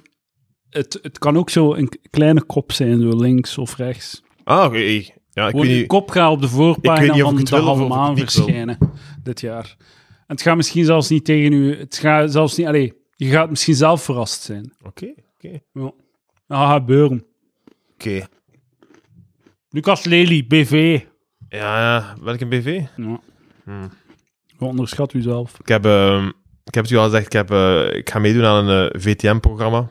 het, het kan ook zo een k- kleine kop zijn, zo links of rechts. Ah, oké. Ja, ik Gewoon weet die niet. kop gaat op de ik weet voorpagina niet of van ik het de wil of of Halve ik het Maan niet wil. verschijnen dit jaar. En het gaat misschien zelfs niet tegen u... Het gaat zelfs niet... Allee, je gaat misschien zelf verrast zijn. Oké, oké. Ja. Dat gaat gebeuren. Oké. Lucas Lely, BV. Ja, ja, welke BV? Ja. Hmm. Je Onderschat u zelf. Ik heb, ehm, ik heb het u al gezegd, ik, heb, eh, ik ga meedoen aan een eh, VTM-programma,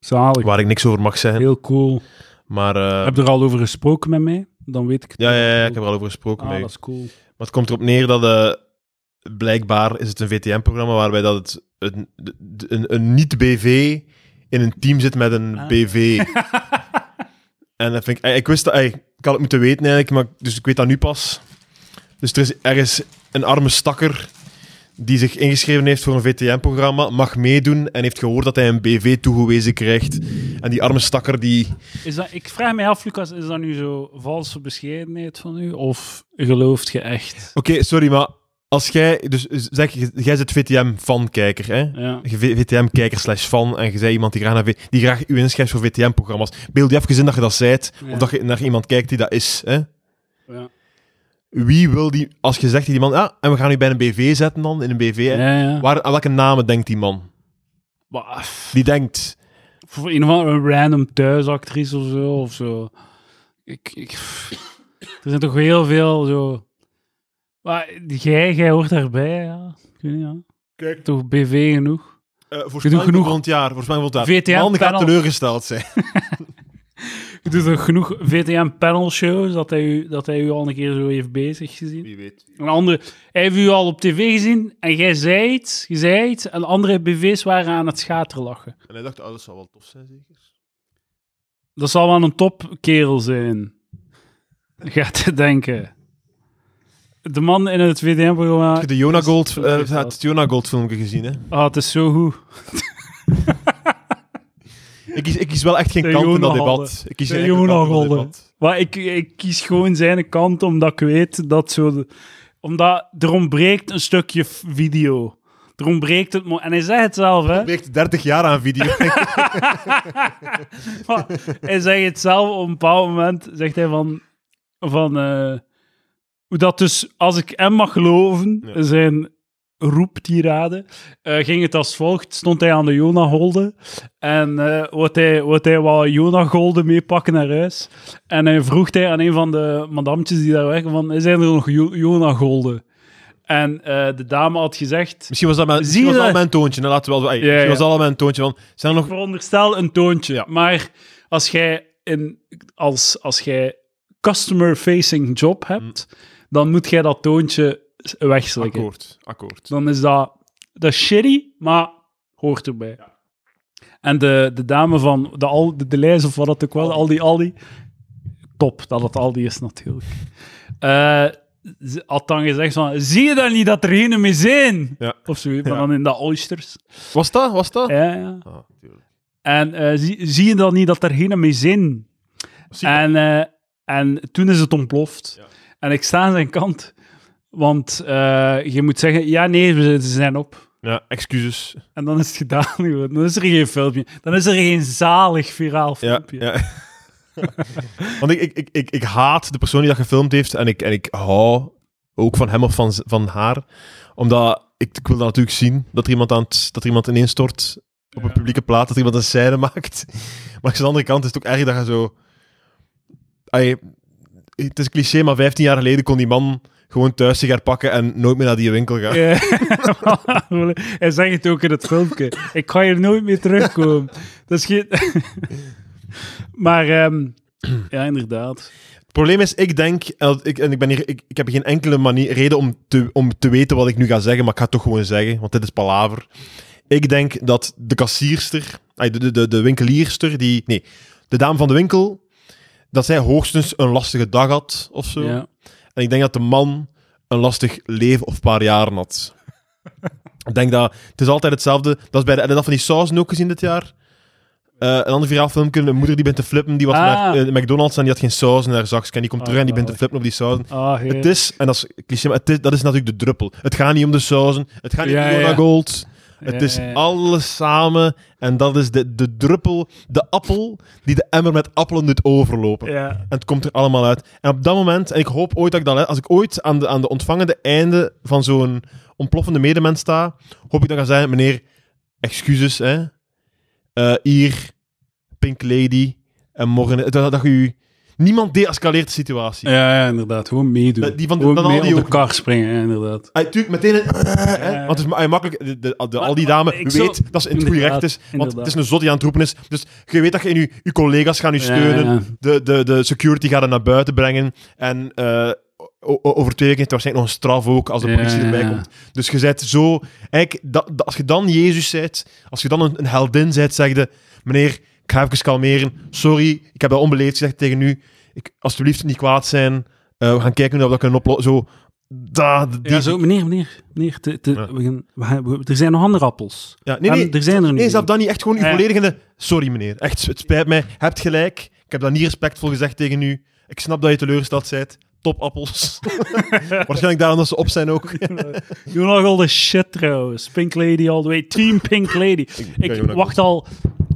Zalig. waar ik niks over mag zeggen. Heel cool. Maar eh, Heb je er al over gesproken met mij? Dan weet ik het. ja, ja, ja, ik heb er al over gesproken. Ah, met u. dat is cool. Maar het komt erop neer dat eh, blijkbaar is het een VTM-programma waarbij dat het een, de- een, een niet-BV in een team zit met een Ah. BV. en dat vind ik, eh, ik wist dat, ey, ik had het moeten weten eigenlijk, maar dus ik weet dat nu pas. Dus er is ergens een arme stakker die zich ingeschreven heeft voor een VTM-programma, mag meedoen en heeft gehoord dat hij een BV toegewezen krijgt. En die arme stakker die... Is dat, ik vraag me af, Lucas, is dat nu zo valse bescheidenheid van u? Of gelooft je echt? Oké, sorry, maar als jij... Dus zeg, jij zit VTM-fankijker, hè? Ja. Je V- VTM-kijker slash fan en je zei iemand die graag, naar V- die graag u inschrijft voor VTM-programma's. Beeld je even in dat je dat zijt, Ja. of dat je naar iemand kijkt die dat is. Hè? Ja. Wie wil die, als je zegt die man, ah, en we gaan u bij een BV zetten dan, in een BV, hè? ja, ja. Waar, aan welke namen denkt die man? Maar, pff, Die denkt, eh, Voor een of andere random thuisactrice of zo. Of zo. Ik, ik, pff, er zijn toch heel veel zo... Maar jij, jij hoort daarbij, ja. Ik weet niet, ja. Kijk. Toch BV genoeg. eh Genoeg, voorspelling genoeg. genoeg. volgend jaar, voorspelling volgend jaar. VTM man gaat panel. teleurgesteld zijn. Je doet toch genoeg VTM-panelshows dat, hij u- dat hij u al een keer zo heeft bezig gezien? Wie weet. Een andere, hij heeft u al op tv gezien en jij zei het, je zei het, en andere BV's waren aan het schaterlachen. En hij dacht, oh, dat zou wel tof zijn, zeker? Dat zal wel een topkerel zijn. Gaat te denken. De man in het VDM-programma. Heb je de Jonah Gold, dat is eh, wel. het Jonah Gold filmpje gezien, hè? Ah, het is zo goed. Ik kies, ik kies wel echt geen De kant in dat Jonah debat. Ik kies De echt geen Jonah kant in dat Golden. debat. Maar ik, ik kies gewoon zijn kant omdat ik weet dat zo. de- omdat er ontbreekt een stukje f- video. Er ontbreekt het. mo- En hij zegt het zelf, hè? Weegt 30 jaar aan video. Maar hij zegt het zelf op een bepaald moment. Zegt hij van. van eh, hoe dat dus, als ik hem mag geloven, Ja. zijn roeptirade, eh ging het als volgt. Stond hij aan de Jonah Holde. En eh wat hij, wat hij wou Jonah Golde meepakken naar huis. En hij vroeg hij aan een van de madamtjes die daar werken: van, zijn er nog Jo- Jonah Golden? En eh, de dame had gezegd. Misschien was dat mijn, Zie misschien je was dat dat? al mijn toontje. hè. laten we wel, ey, Ja, misschien ja. was dat al mijn toontje. Van, zijn er nog... veronderstel een toontje. Ja. Maar als jij een als, als jij customer-facing job hebt, dan moet jij dat toontje s- wegslikken. Mm. Akkoord, akkoord. Dan is dat, dat is shitty, maar hoort erbij. En de, de dame van de, al, de, de lijst of wat dat ook was, Aldi Aldi, top dat het Aldi is natuurlijk. Eh, eh, ze had dan gezegd van, zie je dan niet dat er geen mee zijn? Ja. Of zo, maar Ja. dan in dat oysters. Was dat? Was dat? Ja, ja. Ah, tuurlijk. En eh, zie, zie je dan niet dat er geen mee zijn? Zie je En, eh, en toen is het ontploft. Ja. En ik sta aan zijn kant. Want eh, je moet zeggen, ja, nee, we- ze zijn op. dat? Ja, excuses. En dan is het gedaan. gewoon. Dan is er geen filmpje. Dan is er geen zalig viraal Ja, filmpje. ja. Want ik, ik, ik, ik, ik haat de persoon die dat gefilmd heeft en ik, en ik hou ook van hem of van, z- van haar. Omdat ik, ik wil dat natuurlijk zien, dat er iemand, aan het, dat er iemand ineenstort op een Ja. publieke plaat, dat er iemand een scène maakt. Maar aan de andere kant is het ook erg dat je zo... Allee, het is cliché, maar 15 jaar geleden kon die man gewoon thuis sigaar pakken en nooit meer naar die winkel gaan. Eh, Hij zegt het ook in het filmpje. Ik ga hier nooit meer terugkomen. Dat is geen... maar ehm, ja, inderdaad. Het probleem is, ik denk, en dat ik, en ik, ben hier, ik, ik heb geen enkele manier, reden om te, om te weten wat ik nu ga zeggen, maar ik ga het toch gewoon zeggen, want dit is palaver. Ik denk dat de kassierster, ay, de, de, de, de winkelierster, die, nee, de dame van de winkel, dat zij hoogstens een lastige dag had of zo. Ja. En ik denk dat de man een lastig leven of paar jaren had. ik denk dat het is altijd hetzelfde. Dat is bij de en dat van die sausen ook gezien dit jaar. Eh, een ander viraal filmpje, een moeder die bent te flippen, die was Ah. naar eh, McDonald's en die had geen saus in haar zakje. En die komt Ah, terug en die bent te zalig. flippen op die sausen. Ah, heer. Het is, en dat is cliché, maar het is, dat is natuurlijk de druppel. Het gaat niet om de sausen, het gaat niet Ja, om Iona ja. Gold. Het Ja, is ja, ja. alles samen en dat is de, de druppel, de appel, die de emmer met appelen doet overlopen. Ja. En het komt er allemaal uit. En op dat moment, en ik hoop ooit dat ik dat, als ik ooit aan de, aan de ontvangende einde van zo'n ontploffende medemens sta, hoop ik dat ik ga zeggen, meneer, excuses, hè. Eh, hier, Pink Lady, en morgen, dat, dat, dat u... Niemand deescaleert de situatie. Ja, ja, inderdaad. Gewoon meedoen. Dat- die van de- Gewoon dan al mee die op de ook. kar springen, ja, inderdaad. Hij natuurlijk meteen een... hè, ja. Want het is ma- ah, makkelijk. De, de, de- al die Eh. Maar- maar dame ik weet zou- dat ze in het goede Inderdaad, recht is. Want inderdaad. het is een zot die aan het roepen is. Dus je weet dat je in je, je collega's gaan je steunen. Ja, ja. De, de, de security gaat het naar buiten brengen. En eh, o- o- over twee weken is het waarschijnlijk nog een straf ook als de Ja, politie erbij ja. komt. Dus je bent zo... Eigenlijk, dat, dat- als je dan Jezus bent, als je dan een, een heldin bent, zeg je... Meneer, ik ga even kalmeren. Sorry, ik heb dat onbeleefd gezegd tegen u. Ik, alsjeblieft, niet kwaad zijn. Eh, we gaan kijken hoe we dat kunnen oplossen. Zo... Da, die, Ja, zo, meneer, meneer, meneer, te- te- Ja. we gaan, we gaan- we- er zijn nog andere appels. Ja, nee, En nee. er zijn er nu. Nee, zelf dan niet. Echt gewoon uw Ja. volledige... Sorry, meneer. Echt, het spijt mij. Hebt gelijk. Ik heb dat niet respectvol gezegd tegen u. Ik snap dat je teleurgesteld bent. Topappels. Waarschijnlijk daarom dat ze op zijn ook. Doe nog al de shit trouwens. Pink Lady all the way. Team Pink Lady. ja, ik Jonas. wacht al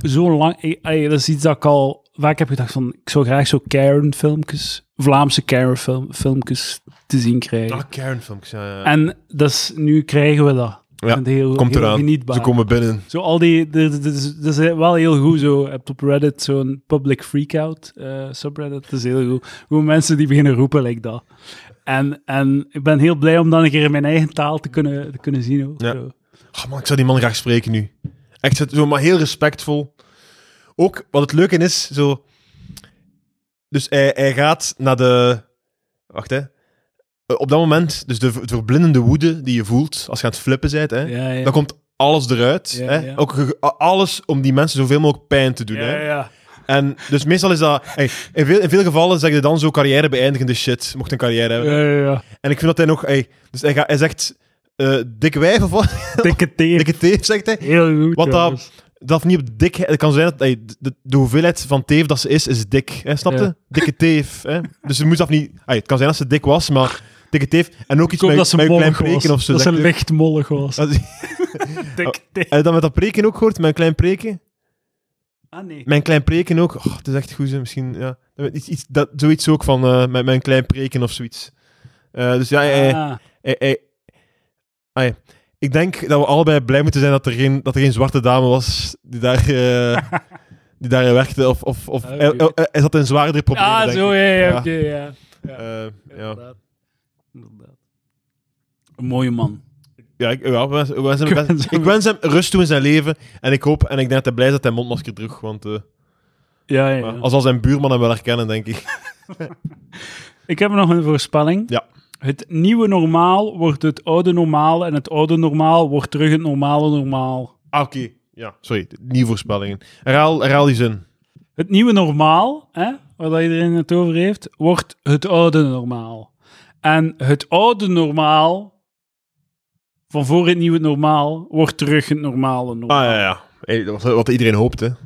zo lang. Ik- ey, dat is iets dat ik al vaak heb gedacht van, ik zou graag zo Karen filmpjes, Vlaamse Karen film, filmpjes te zien krijgen. Ah, Karen films. Ja, ja. En dat is, nu krijgen we dat. Ik vind het heel, Komt heel eraan. genietbaar. Ze komen binnen. Zo al die, dat is- dat is- dat is wel heel goed zo. Je hebt op Reddit zo'n public freakout eh subreddit, dat is heel goed. Hoe mensen die beginnen roepen, like dat. En, en ik ben heel blij om dan een keer in mijn eigen taal te kunnen, te kunnen zien. Ook, Ja. zo. Ah, man, ik zou die man graag spreken nu. Echt zo, maar heel respectvol. Ook, wat het leuke is, zo... Dus hij, hij gaat naar de... Wacht, hè. Eh, Op dat moment, dus de ver- verblindende woede die je voelt als je aan het flippen bent, hè. Ja, ja. Dan komt alles eruit. Ja, hè? ja. Ook ge- a- alles om die mensen zoveel mogelijk pijn te doen. hè? En dus meestal is dat... hey, in, veel, in veel gevallen zeg je dan zo carrière beëindigende shit, mocht een carrière hebben. ja, ja, ja. En ik vind dat hij nog... hey, dus hij, gaat- hij zegt... eh dik wijf of wat? Dikke thee. Dikke teef, zegt hij. Heel goed. Wat dat- trouwens. Dat niet op dik... Het kan zijn dat hey, de, de hoeveelheid van teef dat ze is, is dik. Hè? Snap je? Ja. Dikke teef. Hè? Dus ze moet dat niet... hey, het kan zijn dat ze dik was, maar dikke teef... En ook Ik iets hoop met, dat ze met een klein mollig was. preken of zo. Dat ze zegt hij. licht mollig was. Als- Dikke thee. Heb je dat met dat preken ook gehoord? Met een klein preken? Ah, nee. Mijn klein preken ook. Oh, het is echt goed, zo, misschien. Ja. Iets, iets, dat, zoiets ook van eh, met mijn klein preken of zoiets. Eh, dus ja, hij- Ah, hij- hij- hij- ik denk dat we allebei blij moeten zijn dat er geen, dat er geen zwarte dame was die daar, eh, die daar werkte. Of, of, of Ah, hij, oké. hij- hij zat in zwaardere problemen. ah denk ik. zo, ja, ja, Ja. oké, ja. Eh, ja. Inderdaad. Inderdaad. Een mooie man. Ja, ik, ja, we wensen- we wensen hem Ik best- wens hem- ik wens hem rust toe in zijn leven. En ik hoop en ik denk dat hij blij is dat hij een mondmasker droeg. Want eh, Ja, ja, ja. als al zijn buurman hem wel herkennen, denk ik. Ik heb nog een voorspelling. Ja. Het nieuwe normaal wordt het oude normaal en het oude normaal wordt terug het normale normaal. Ah, oké. Ja, sorry. Nieuwe voorspellingen. Herhaal, herhaal die zin. Het nieuwe normaal, hè, waar dat iedereen het over heeft, wordt het oude normaal. En het oude normaal, van voor het nieuwe normaal, wordt terug het normale normaal. Ah ja, ja. Hey, dat was wat iedereen hoopt, hè. Ja.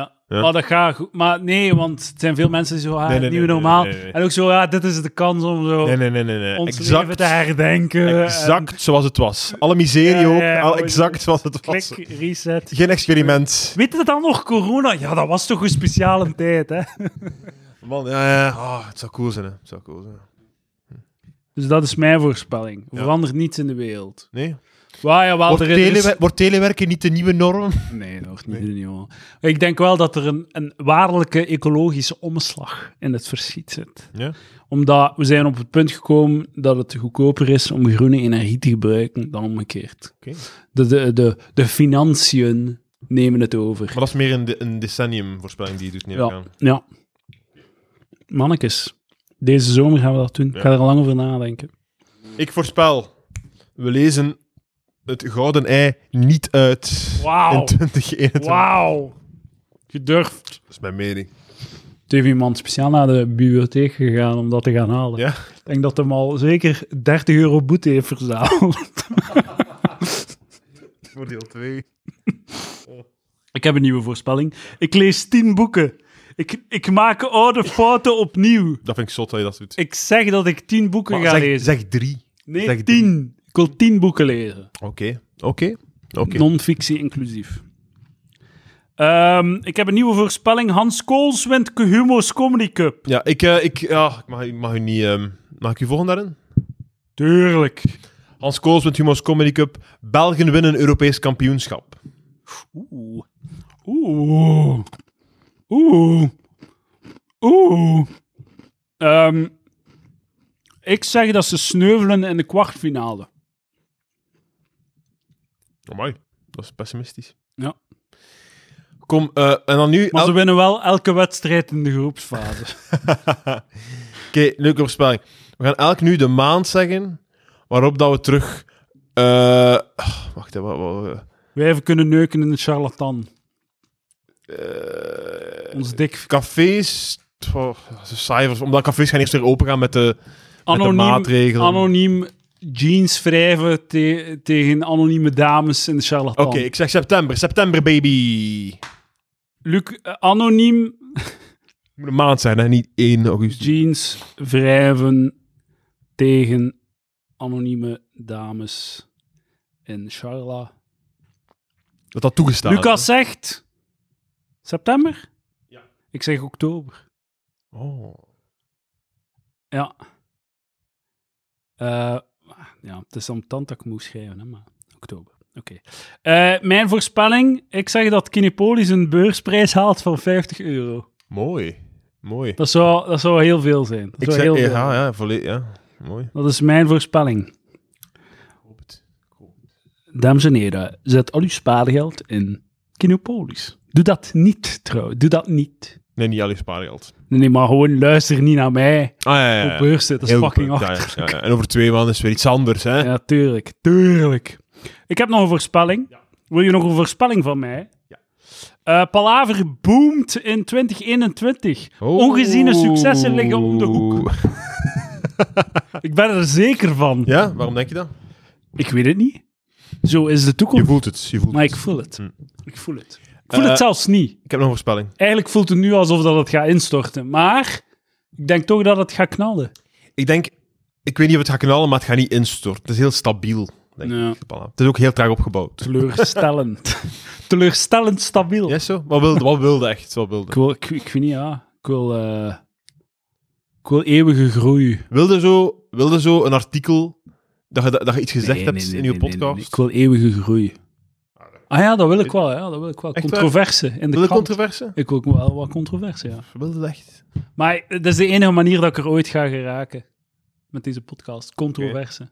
Ah, Ja. Oh, dat gaat goed. Maar nee, want het zijn veel mensen die zo, ah, nee, het nee, nieuwe nee, normaal. nee, nee, nee. En ook zo, ja, dit is de kans om zo Nee, nee, nee, nee. nee. ons leven te herdenken. exact zoals het was. Alle miserie Ja, ja, ook, ja, al- ja. exact zoals het En was. klik, reset. Geen experiment. Weet je dat dan nog, corona? Ja, dat was toch een speciale tijd, hè? Man, ja, ja. Ah, het zou cool zijn, hè. Het zou cool zijn. Dus dat is mijn voorspelling. Ja. Verandert niets in de wereld. Nee? Waar, ja, wel, Ah, Wordt, er is- telewer- wordt telewerken niet de nieuwe norm? Nee, nog niet. doen, jongen. Ik denk wel dat er een, een waarlijke ecologische omslag in het verschiet zit. Ja. Omdat we zijn op het punt gekomen dat het goedkoper is om groene energie te gebruiken dan omgekeerd. Oké. De, de, de, de financiën nemen het over. Maar dat is meer een, de- een decennium voorspelling die je dus doet, neem ik Ja, aan. ja. Mannekes, deze zomer gaan we dat doen. Ik ga er al lang over nadenken. Ik voorspel, we lezen het gouden ei niet uit Wauw. in 2021. Wauw. Gedurfd. Dat is mijn mening. Er heeft iemand speciaal naar de bibliotheek gegaan om dat te gaan halen. Ja. Ik denk dat hem al zeker 30 euro boete heeft verzameld. Voor deel 2. Ik heb een nieuwe voorspelling. Ik lees 10 boeken. Ik, ik maak oude fouten opnieuw. Dat vind ik zot dat je dat doet. Ik zeg dat ik 10 boeken Maar ga zeg, lezen. zeg drie. zeg nee, drie. 10. Ik wil 10 boeken lezen. Oké, oké, oké. Non-fictie inclusief. Ehm, ik heb een nieuwe voorspelling. Hans Kools wint Humo's Comedy Cup. Ja, ik, eh, ik, ja, ik mag, ik mag u niet... ehm, mag ik u volgen daarin? Tuurlijk. Hans Kools met Humo's Comedy Cup. Belgen winnen Europees kampioenschap. Oeh. Oeh. Oeh. Oeh. Ehm, ik zeg dat ze sneuvelen in de kwartfinale. Amai, dat is pessimistisch. Ja. Kom, eh, en dan nu... Maar el- ze winnen wel elke wedstrijd in de groepsfase. Oké, leuke voorspelling. We gaan elk nu de maand zeggen waarop dat we terug... eh, ah, wacht even. wat- wat- Wij even kunnen neuken in de charlatan. eh, Ons dik cafés... oh, dat is cijfers, omdat cafés gaan eerst weer open gaan met de, met de anoniem, maatregelen. anoniem jeans wrijven te- tegen anonieme dames in de charlatan. Oké, ik zeg september. September, baby. Luc, eh, anoniem Het moet een maand zijn, hè? niet 1 augustus. jeans wrijven tegen anonieme dames in charla. Dat dat toegestaan Lucas zegt september? Ja. Ik zeg oktober. hè. Oh. Ja. Eh, ja, het is om tand dat ik moest schrijven, hè, maar oktober. Oké. Eh, mijn voorspelling, ik zeg dat Kinepolis een beursprijs haalt van 50 euro. Mooi. Mooi. Dat zou, dat zou heel veel zijn. Dat, Ik zou zeg, heel veel ja, zijn. ja, volledig. Ja. Mooi. dat is mijn voorspelling. Dames en heren, zet al uw spaargeld in Kinepolis. Doe dat niet, trouw. Doe dat niet. Nee, niet al je spaargeld. Nee, nee, maar gewoon luister niet naar mij. Ah ja, ja. ja. Op beurs zit, dat is Heel fucking goed, ja, ja, achterlijk. ja, ja. En over twee maanden is weer iets anders, hè? Ja, tuurlijk. Tuurlijk. Ik heb nog een voorspelling. Wil je nog een voorspelling van mij? Ja. Eh, Palaver boomt in 2021. Oh. Ongeziene successen liggen om de hoek. Ik ben er zeker van. Ja, waarom denk je dat? Ik weet het niet. Zo is de Je toekomst. voelt het. Je voelt Maar het. ik voel het. Hm. Ik voel het. Ik voel het Eh. zelfs niet. Ik heb nog een voorspelling. Eigenlijk voelt het nu alsof dat het gaat instorten. Maar ik denk toch dat het gaat knallen. Ik denk, ik weet niet of het gaat knallen, maar het gaat niet instorten. Het is heel stabiel. Denk Ja. ik. Voilà. Het is ook heel traag opgebouwd. Teleurstellend. Teleurstellend stabiel. Ja, zo? Wat wilde, wat wilde echt? Wat wilde? Ik, wil, ik, ik weet niet, ja. Ik wil, eh, ik wil eeuwige groei. Wilde zo, wilde zo een artikel dat je, dat je iets gezegd hebt in je podcast? Ik wil eeuwige groei. Ah ja, dat wil ik wel. Ja, dat wil ik wel. Echt waar? controverse in de Wil je krant. controverse? Ik wil ook wel wat controverse, ja. Wilde echt? Maar eh, dat is de enige manier dat ik er ooit ga geraken. Met deze podcast. Controverse.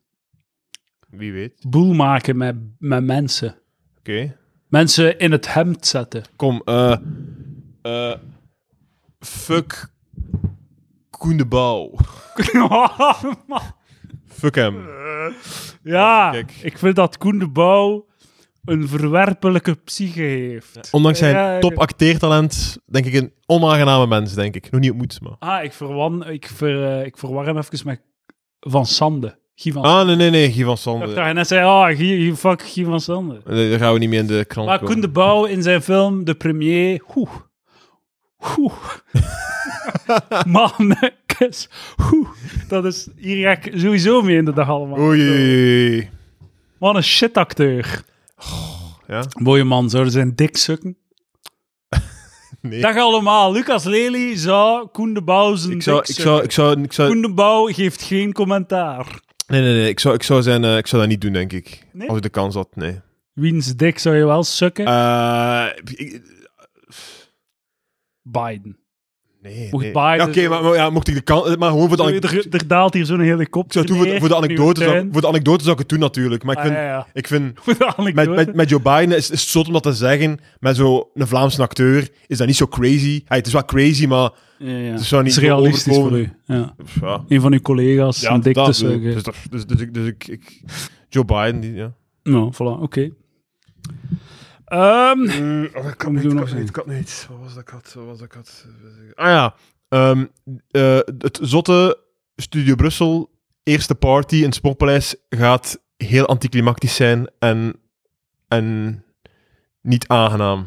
Wie weet. Boel maken met, met mensen. Oké. Mensen in het hemd zetten. Kom, eh... eh, fuck... Koen de Bouw. Fuck hem. ja, Kijk. ik vind dat Koen de Bouw een verwerpelijke psyche heeft. Ondanks zijn Ja, ja, top acteertalent, denk ik een onaangename mens, denk ik. Nog niet ontmoet, maar... Ah, ik, verwan, ik, ver, eh, ik verwar hem even met van Sande. Guy van Ah, nee, nee, nee, Guy van Sande. Sande. En hij zei, oh, Guy, Guy- fuck Guy van Sande. Nee, Daar gaan we niet meer in de krant Maar komen. Koen de Bouw in zijn film De Premier, oeh, oeh. Man, kus, oeh. Dat is, hier ga ik sowieso mee in de dag allemaal. Oei, oei, oei, oei. Wat een shitacteur. Ja? Mooie man, zouden zijn dik sukken. Nee. Dag allemaal, Lucas Lely zou Koen de Bouw zijn Ik zou, dik ik sukken. zou, ik zou, ik zou, Koen de Bouw geeft geen commentaar. nee, nee, nee, ik zou, ik zou zijn, eh, ik zou dat niet doen, denk ik. Nee? Als ik de kans had, nee. Wiens dik zou je wel sukken? Eh, ik- Biden. nee, Mocht nee. Biden- Ja, Oké, maar, maar ja, mocht ik de kans, maar gewoon voor de dus- Sorry, anekdote. er, er daalt hier zo'n hele kop. Ik zou het doen voor, voor de anekdote, zou, ik- voor de anekdote zou ik het doen natuurlijk. Maar ik vind, Ah, ja, ja. ik vind Voor de met, anekdote. met, met Joe Biden is, is het zot om dat te zeggen. Met zo'n Vlaamse acteur is dat niet zo crazy. Hey, het is wel crazy, maar ja, ja. het dus zou niet is realistisch overkomen. voor u. Ja. pff, ja. Een van uw collega's een dik dat te bedoel ik. zeggen. Dus, dat- dus, dus, ik- dus ik, ik... Joe Biden, die, ja. Nou, voilà, oké. Ehm, Eh, oh, ik kan niet, ik kan niet, ik kan niet. Wat was dat kat? Wat was dat kat? Ah ja. Ehm, eh, het zotte Studio Brussel, eerste party in het Sportpaleis, gaat heel anticlimactisch zijn en, en niet aangenaam.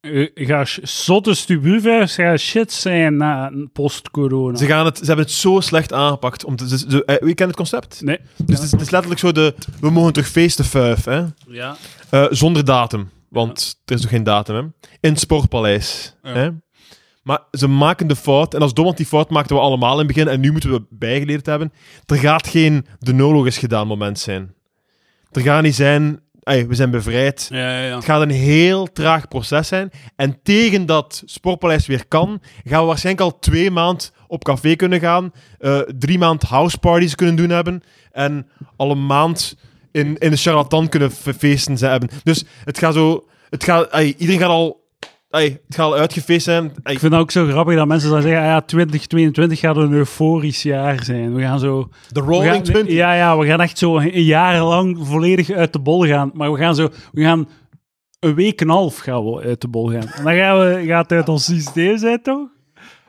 eh, ga sh- zotte stubuvers gaan shit zijn na post-corona. Ze, gaan het, ze hebben het zo slecht aangepakt. Om te, ze, ze- eh, wie kent het concept? Nee. Dus het, is, het is letterlijk zo de... We mogen terug feesten, fuif. Hè? Ja. Eh, zonder datum, want er is nog geen datum. Hè? In het Sportpaleis. Ja. Hè? Maar ze maken de fout, en als dom, want die fout maakten we allemaal in het begin, en nu moeten we bijgeleerd hebben. Er gaat geen de nolog is gedaan moment zijn. Er gaat niet zijn, "Ey, we zijn bevrijd. Ja, ja, ja. Het gaat een heel traag proces zijn. En tegen dat Sportpaleis weer kan, gaan we waarschijnlijk al twee maand op café kunnen gaan. eh, drie maand houseparties kunnen doen hebben. En al een maand in, in de charlatan kunnen fe- feesten zijn hebben. Dus het gaat zo... Het gaat, ai, iedereen gaat al... ai, het gaat al uitgefeest zijn. Ai, Ik vind het ook zo grappig dat mensen dan zeggen, ah ja, 2022 gaat een euforisch jaar zijn. We gaan zo... de we Rolling gaan- Twenty. ja, ja, we gaan echt zo een jaar lang volledig uit de bol gaan. Maar we gaan zo... We gaan een week en een half gaan we uit de bol gaan. En dan gaan we, gaat het uit ons systeem zijn, toch?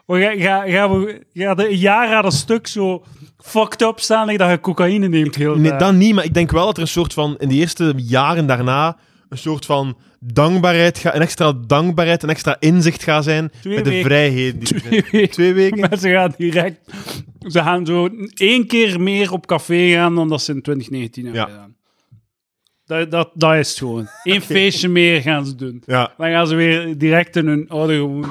We gaan, gaan, gaan we gaan de, een jaar aan een stuk zo fucked up staan like dat je cocaïne neemt heel Nee, dag. dan niet, maar ik denk wel dat er een soort van, in de eerste jaren daarna, een soort van dankbaarheid, ga, een extra dankbaarheid, een extra inzicht gaat zijn Twee met de weken. vrijheden die er zijn. Twee weken. Twee weken? Mensen gaan direct... Ze gaan zo één keer meer op café gaan dan dat ze in 2019 hebben Ja. gedaan. Dat, dat, dat is het gewoon. Eén feestje meer gaan ze doen. Ja. Dan gaan ze weer direct in hun oude gewoonte.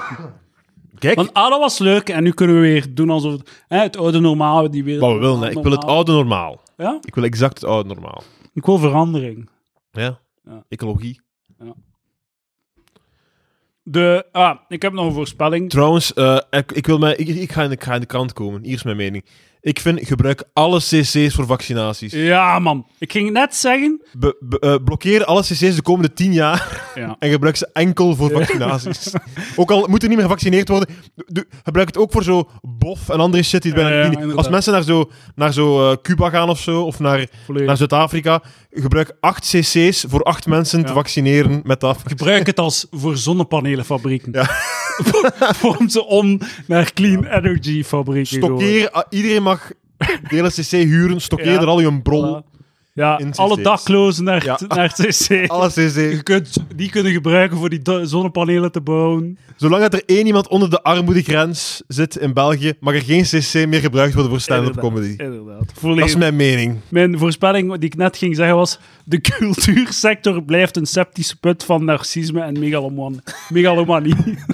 Kijk, Want ah, dat was leuk en nu kunnen we weer doen alsof het, hè, het oude normaal... Die wereld, wat we willen. hè. Ik wil het oude normaal. Ja? Ik wil exact het oude normaal. Ik wil verandering. Ja. Ja. Ecologie. De, ah, ik heb nog een voorspelling. Trouwens, eh, ik, ik, wil mij, ik, ik ga in de, ik ga in de krant komen. Hier is mijn mening. Ik vind, gebruik alle cc's voor vaccinaties. Ja, man. Ik ging net zeggen... Be- be- eh, blokkeer alle cc's de komende tien jaar Ja. en gebruik ze enkel voor vaccinaties. Ook al moet er niet meer gevaccineerd worden, doe- gebruik het ook voor zo bof en andere shit die het Ja, bijna ja, niet- Als inderdaad. mensen naar zo, naar zo eh, Cuba gaan of zo, of naar, Volledig. naar Zuid-Afrika, gebruik acht cc's voor acht mensen te Ja. vaccineren met dat Gebruik het als voor zonnepanelenfabrieken. Vorm ze om naar clean energy fabrieken. gewoon. Stokkeer, ah, iedereen mag delen CC huren. Stokkeer Ja. er al je bron. Voilà. Ja, In alle cc's. daklozen naar, Ja. het- naar het cc. Alles Je CC. kunt, die kunnen gebruiken voor die do- zonnepanelen te bouwen. Zolang dat er één iemand onder de armoedegrens zit in België, mag er geen CC meer gebruikt worden voor stand-up Inderdaad, comedy. Inderdaad. Dat Volledig. is mijn mening. Mijn voorspelling die ik net ging zeggen was... De cultuursector blijft een septische put van narcisme en megaloman megalomanie.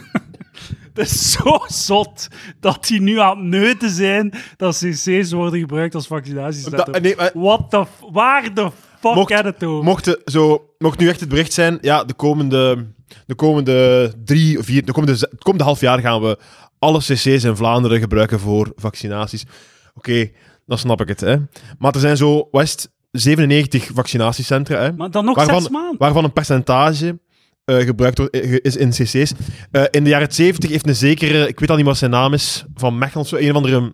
Het is zo zot dat die nu aan het neuten zijn dat cc's worden gebruikt als vaccinatiecentra. Dat- nee, maar- What the... f- Waar de fuck Mocht- gaat het over? Mocht, de- zo, mocht nu echt het bericht zijn, ja, de komende, de komende drie of vier, de komende, ze- het komende half jaar gaan we alle cc's in Vlaanderen gebruiken voor vaccinaties. Oké, dan snap ik het. Hè. Maar er zijn zo, West, 97 vaccinatiecentra. Hè. maar dan nog waarvan- zes maanden. waarvan een percentage eh, gebruikt wordt, eh, is in cc's. Eh, in de jaren 70 heeft een zekere, ik weet al niet wat zijn naam is, van Mechelen of zo, een of andere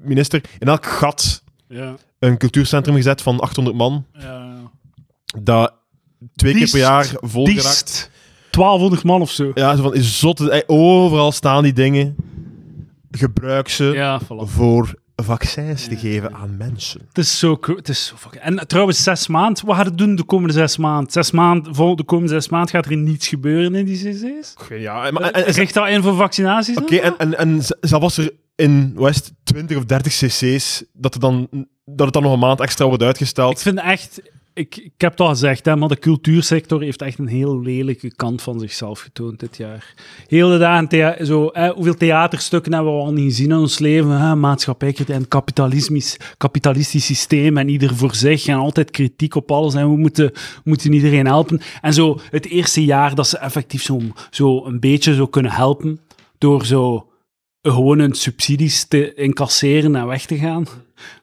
minister, in elk gat Ja, een cultuurcentrum gezet van 800 man, ja. dat twee Diest. keer per jaar vol geraakt. Diest. 1200 man of zo. Ja, zo van, is zot, eh, overal staan die dingen. gebruik ze Ja, voilà. voor vaccins te Ja, geven ja. aan mensen. Het is zo... cru- Het is zo fucking- En trouwens, zes maanden. Wat gaat het doen de komende zes maanden? Zes maanden, vol, de komende zes maanden gaat er niets gebeuren in die cc's? Ja, maar, eh, en, en- Richt dat in voor vaccinaties dan? oké, en, en, en z- zelfs was er in West 20 of 30 cc's, dat, er dan, dat het dan nog een maand extra wordt Ik uitgesteld. vind echt... Ik, ik heb het al gezegd, hè, maar de cultuursector heeft echt een heel lelijke kant van zichzelf getoond dit jaar. Heel de dagen, thea- zo, hè, hoeveel theaterstukken hebben we al niet gezien in ons leven? Hè? Maatschappij en kapitalismisch, kapitalistisch systeem en ieder voor zich en altijd kritiek op alles en we moeten, moeten iedereen helpen. En zo het eerste jaar dat ze effectief zo, zo een beetje zo kunnen helpen door zo gewoon hun subsidies te incasseren en weg te gaan.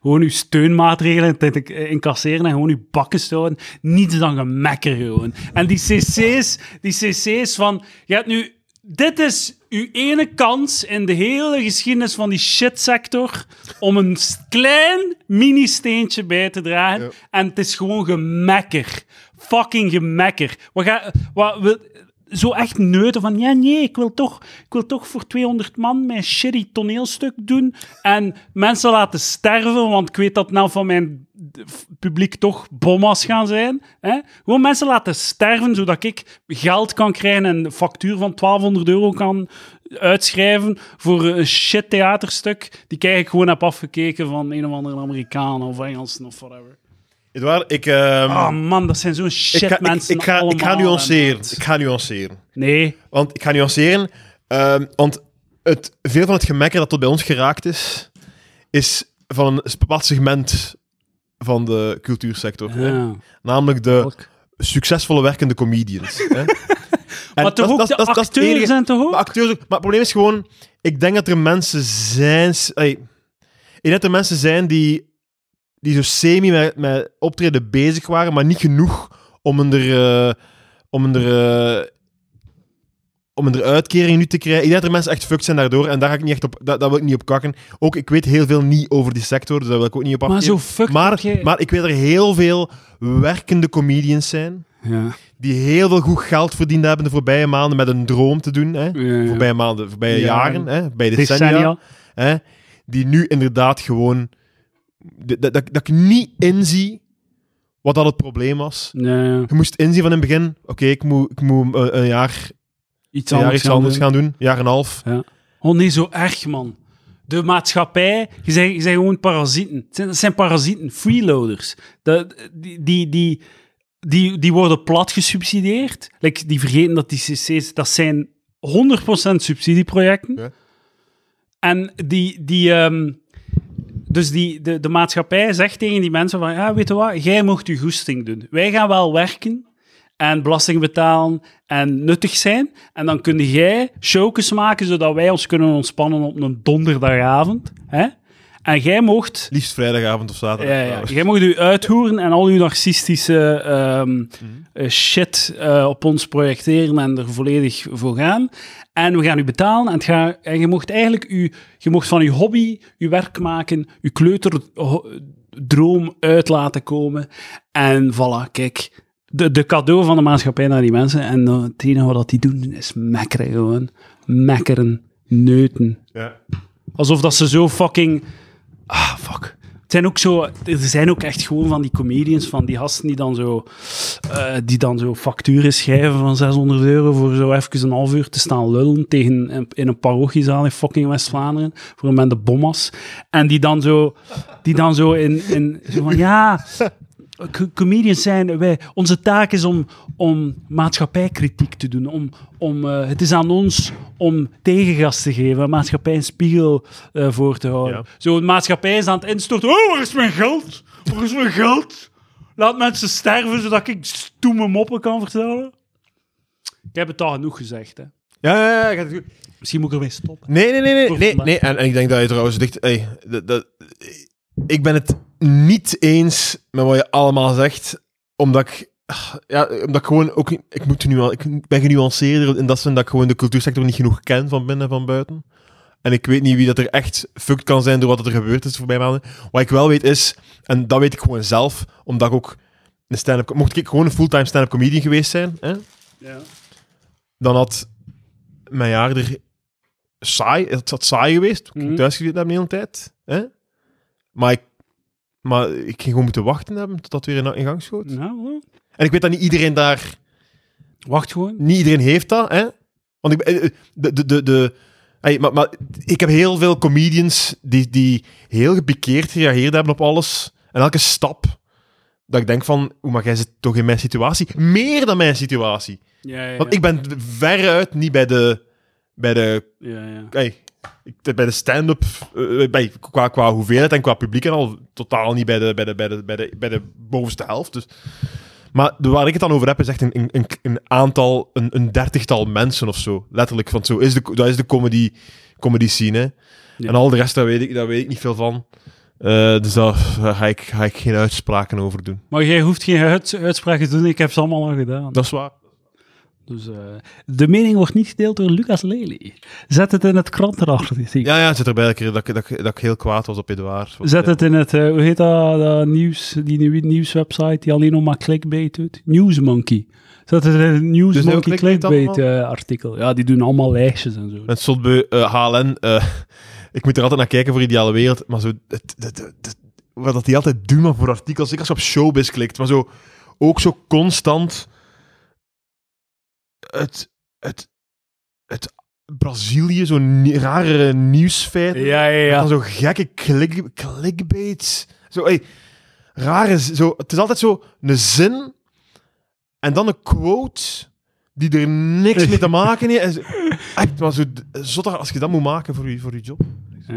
Gewoon uw steunmaatregelen te te- incasseren en gewoon uw bakken te houden. Niets dan gemekker gewoon. En die cc's, die cc's van... Je hebt nu... Dit is uw ene kans in de hele geschiedenis van die shitsector om een s- klein mini-steentje bij te dragen. Ja. En het is gewoon gemekker. Fucking gemekker. Wat ga... Wat, wil, zo echt neuten van ja, nee, ik wil toch, ik wil toch voor 200 man mijn shitty toneelstuk doen en mensen laten sterven, want ik weet dat nou van mijn f- publiek toch bommas gaan zijn. Hè? Gewoon mensen laten sterven, zodat ik geld kan krijgen en een factuur van 1200 euro kan uitschrijven voor een shit theaterstuk die ik eigenlijk gewoon heb afgekeken van een of andere Amerikaan of Engelsen of whatever. Edouard, ik... ehm, Oh man, dat zijn zo'n shit ik, ga, ik, mensen ik, ga, ik ga allemaal, hè, nuanceren. maat. Ik ga nuanceren. Nee, Want ik ga nuanceren. ehm, want het, veel van het gemekker dat tot bij ons geraakt is, is van een bepaald segment van de cultuursector. hè. ja. Namelijk de Welk? succesvolle werkende comedians. hè. En maar toch dat- ook dat- de dat- dat is het acteurs enige- zijn toch ook? Maar acteurs ook. Maar het probleem is gewoon, ik denk dat er mensen zijn... s- ey, ik denk dat er mensen zijn die, die zo semi met, met optreden bezig waren, maar niet genoeg om hun er... eh, om hun er eh, om hun er uitkering nu te krijgen. Ik denk dat er mensen echt fucked zijn daardoor. En daar, ga ik niet echt op, daar, daar wil ik niet op kakken. Ook, ik weet heel veel niet over die sector, dus daar wil ik ook niet op Maar afgeven. zo fuck maar, dat jij- maar ik weet dat er heel veel werkende comedians zijn ja. die heel veel goed geld verdiend hebben de voorbije maanden met een droom te doen. Hè? Ja, ja. Voorbije maanden, voorbije Jaren. jaren, hè? bij decennia. decennia. Hè? Die nu inderdaad gewoon... Dat, dat, dat ik niet inzie wat dat het probleem was. Nee, ja. Je moest inzien van in het begin, oké, ik moet, ik moet eh, een, een jaar, iets een jaar anders. iets gaan anders doen. gaan doen. Een jaar en een half. Oh nee, zo erg man. De maatschappij, je zijn, je zijn gewoon parasieten. Het zijn, het zijn parasieten, freeloaders. Dat, die, die, die, die, die worden plat gesubsidieerd. Like, die vergeten dat die cc's, dat zijn 100% subsidieprojecten. Ja. En die, die, ehm, dus die, de, de maatschappij zegt tegen die mensen van, ja, weet je wat, jij mocht je goesting doen. Wij gaan wel werken en belasting betalen en nuttig zijn. En dan kun jij showkes maken, zodat wij ons kunnen ontspannen op een donderdagavond. Hè? En jij mocht Liefst vrijdagavond of zaterdag. ja, ja. trouwens. Jij mocht u uithoeren en al uw narcistische ehm, eh, shit eh, op ons projecteren en er volledig voor gaan. En we gaan u betalen. En, het ga, en je mocht eigenlijk u, je mocht van uw hobby, uw werk maken, uw kleuterdroom uit laten komen. En voilà, kijk. De, de cadeau van de maatschappij naar die mensen. En eh, het enige wat die doen is mekkeren gewoon. Mekkeren, neuten. Ja. Alsof dat ze zo fucking... Ah, fuck. Het zijn ook zo... Er zijn ook echt gewoon van die comedians, van die gasten die dan zo... eh, die dan zo facturen schrijven van 600 euro voor zo even een half uur te staan lullen tegen een- in een parochiezaal in fucking West-Vlaanderen, voor met de bommas. En die dan zo... Die dan zo in... in zo van, ja... co- Comedians zijn wij. Onze taak is om, om maatschappijkritiek te doen. Om, om, eh, het is aan ons om tegengas te geven, aan maatschappij een spiegel eh, voor te houden. Ja. Zo'n maatschappij is aan het instorten. Oh, waar is mijn geld? Waar is mijn geld? Laat mensen sterven zodat ik stoeme moppen kan vertellen. Ik heb het al genoeg gezegd. Hè. Ja, ja, ja, ik had het goed. Misschien moet ik ermee stoppen. Nee, nee, nee. nee, Voor nee, vandaag. nee. En, en ik denk dat je trouwens dicht... Hey, dat, dat, ik ben het niet eens met wat je allemaal zegt, omdat ik... ah, Ja, omdat ik gewoon ook... niet- Ik, moet nu al, ik ben genuanceerder in dat zin dat ik gewoon de cultuursector niet genoeg ken van binnen en van buiten. En ik weet niet wie dat er echt fucked kan zijn door wat er gebeurd is de voorbije maanden. Wat ik wel weet is, en dat weet ik gewoon zelf, omdat ik ook een stand-up... Mocht ik gewoon een fulltime stand-up comedian geweest zijn, hè, Ja. dan had mijn jaar er saai. Het had saai geweest. Ik Mhm. ging thuis gezeten hebben de hele tijd. Hè? Maar, ik, maar ik ging gewoon moeten wachten hebben tot dat weer in, in gang schoot. Nou, hoor. En ik weet dat niet iedereen daar... wacht gewoon. Niet iedereen heeft dat, hè? Want ik... eh, eh, De... de, de, de hey, maar, maar ik heb heel veel comedians die, die heel gepikeerd gereageerd hebben op alles. En elke stap. Dat ik denk van... Oeh, maar jij zit toch in mijn situatie? Meer dan mijn situatie. Ja, ja, ja. Want ik ben veruit niet bij de... Bij de ja, ja. hey, ik, bij de stand-up, eh, eh, bij, qua, qua hoeveelheid en qua publiek en al, totaal niet bij de, bij de, bij de, bij de, bij de bovenste helft. Dus. Maar de- waar ik het dan over heb, is echt een, een- een, een aantal, een, een dertigtal mensen of zo. Letterlijk, want zo is de, dat is de comedy, comedy scene. hè. Ja. En al de rest, daar weet ik, daar weet ik niet veel van. Eh, dus daar daar ga ik, ga ik geen uitspraken over doen. Maar jij hoeft geen uits- uitspraken te doen, ik heb ze allemaal al gedaan. Dat is waar. Dus, eh, de mening wordt niet gedeeld door Lucas Lely. Zet het in het krantenartikel. Ja, ja, het zit erbij dat ik, dat, ik- dat, ik- dat ik heel kwaad was op Edouard. Want, Zet ja. het in het, eh, hoe heet dat, dat nieuws, die nieuwe nieuwswebsite die alleen nog maar clickbait doet? Newsmonkey. Zet het in het Dus Newsmonkey heel clickbait clickbait eh, artikel. Ja, die doen allemaal lijstjes en zo. Met Zotbeu, eh, HLN, eh, ik moet er altijd naar kijken voor Ideale Wereld, maar zo, het, het, het- het- wat dat die altijd doen maar voor artikels, ik als je op Showbiz klikt, maar zo, ook zo constant het, het, het Brazilië, zo'n ni- rare nieuwsfeit, Ja, ja, en ja. dan zo gekke klik, clickbaits, zo, hey, rare, z- zo, het is altijd zo een zin en dan een quote die er niks mee te maken heeft. En zo- Echt, maar zo zotter als je dat moet maken voor je, voor je job. Eh.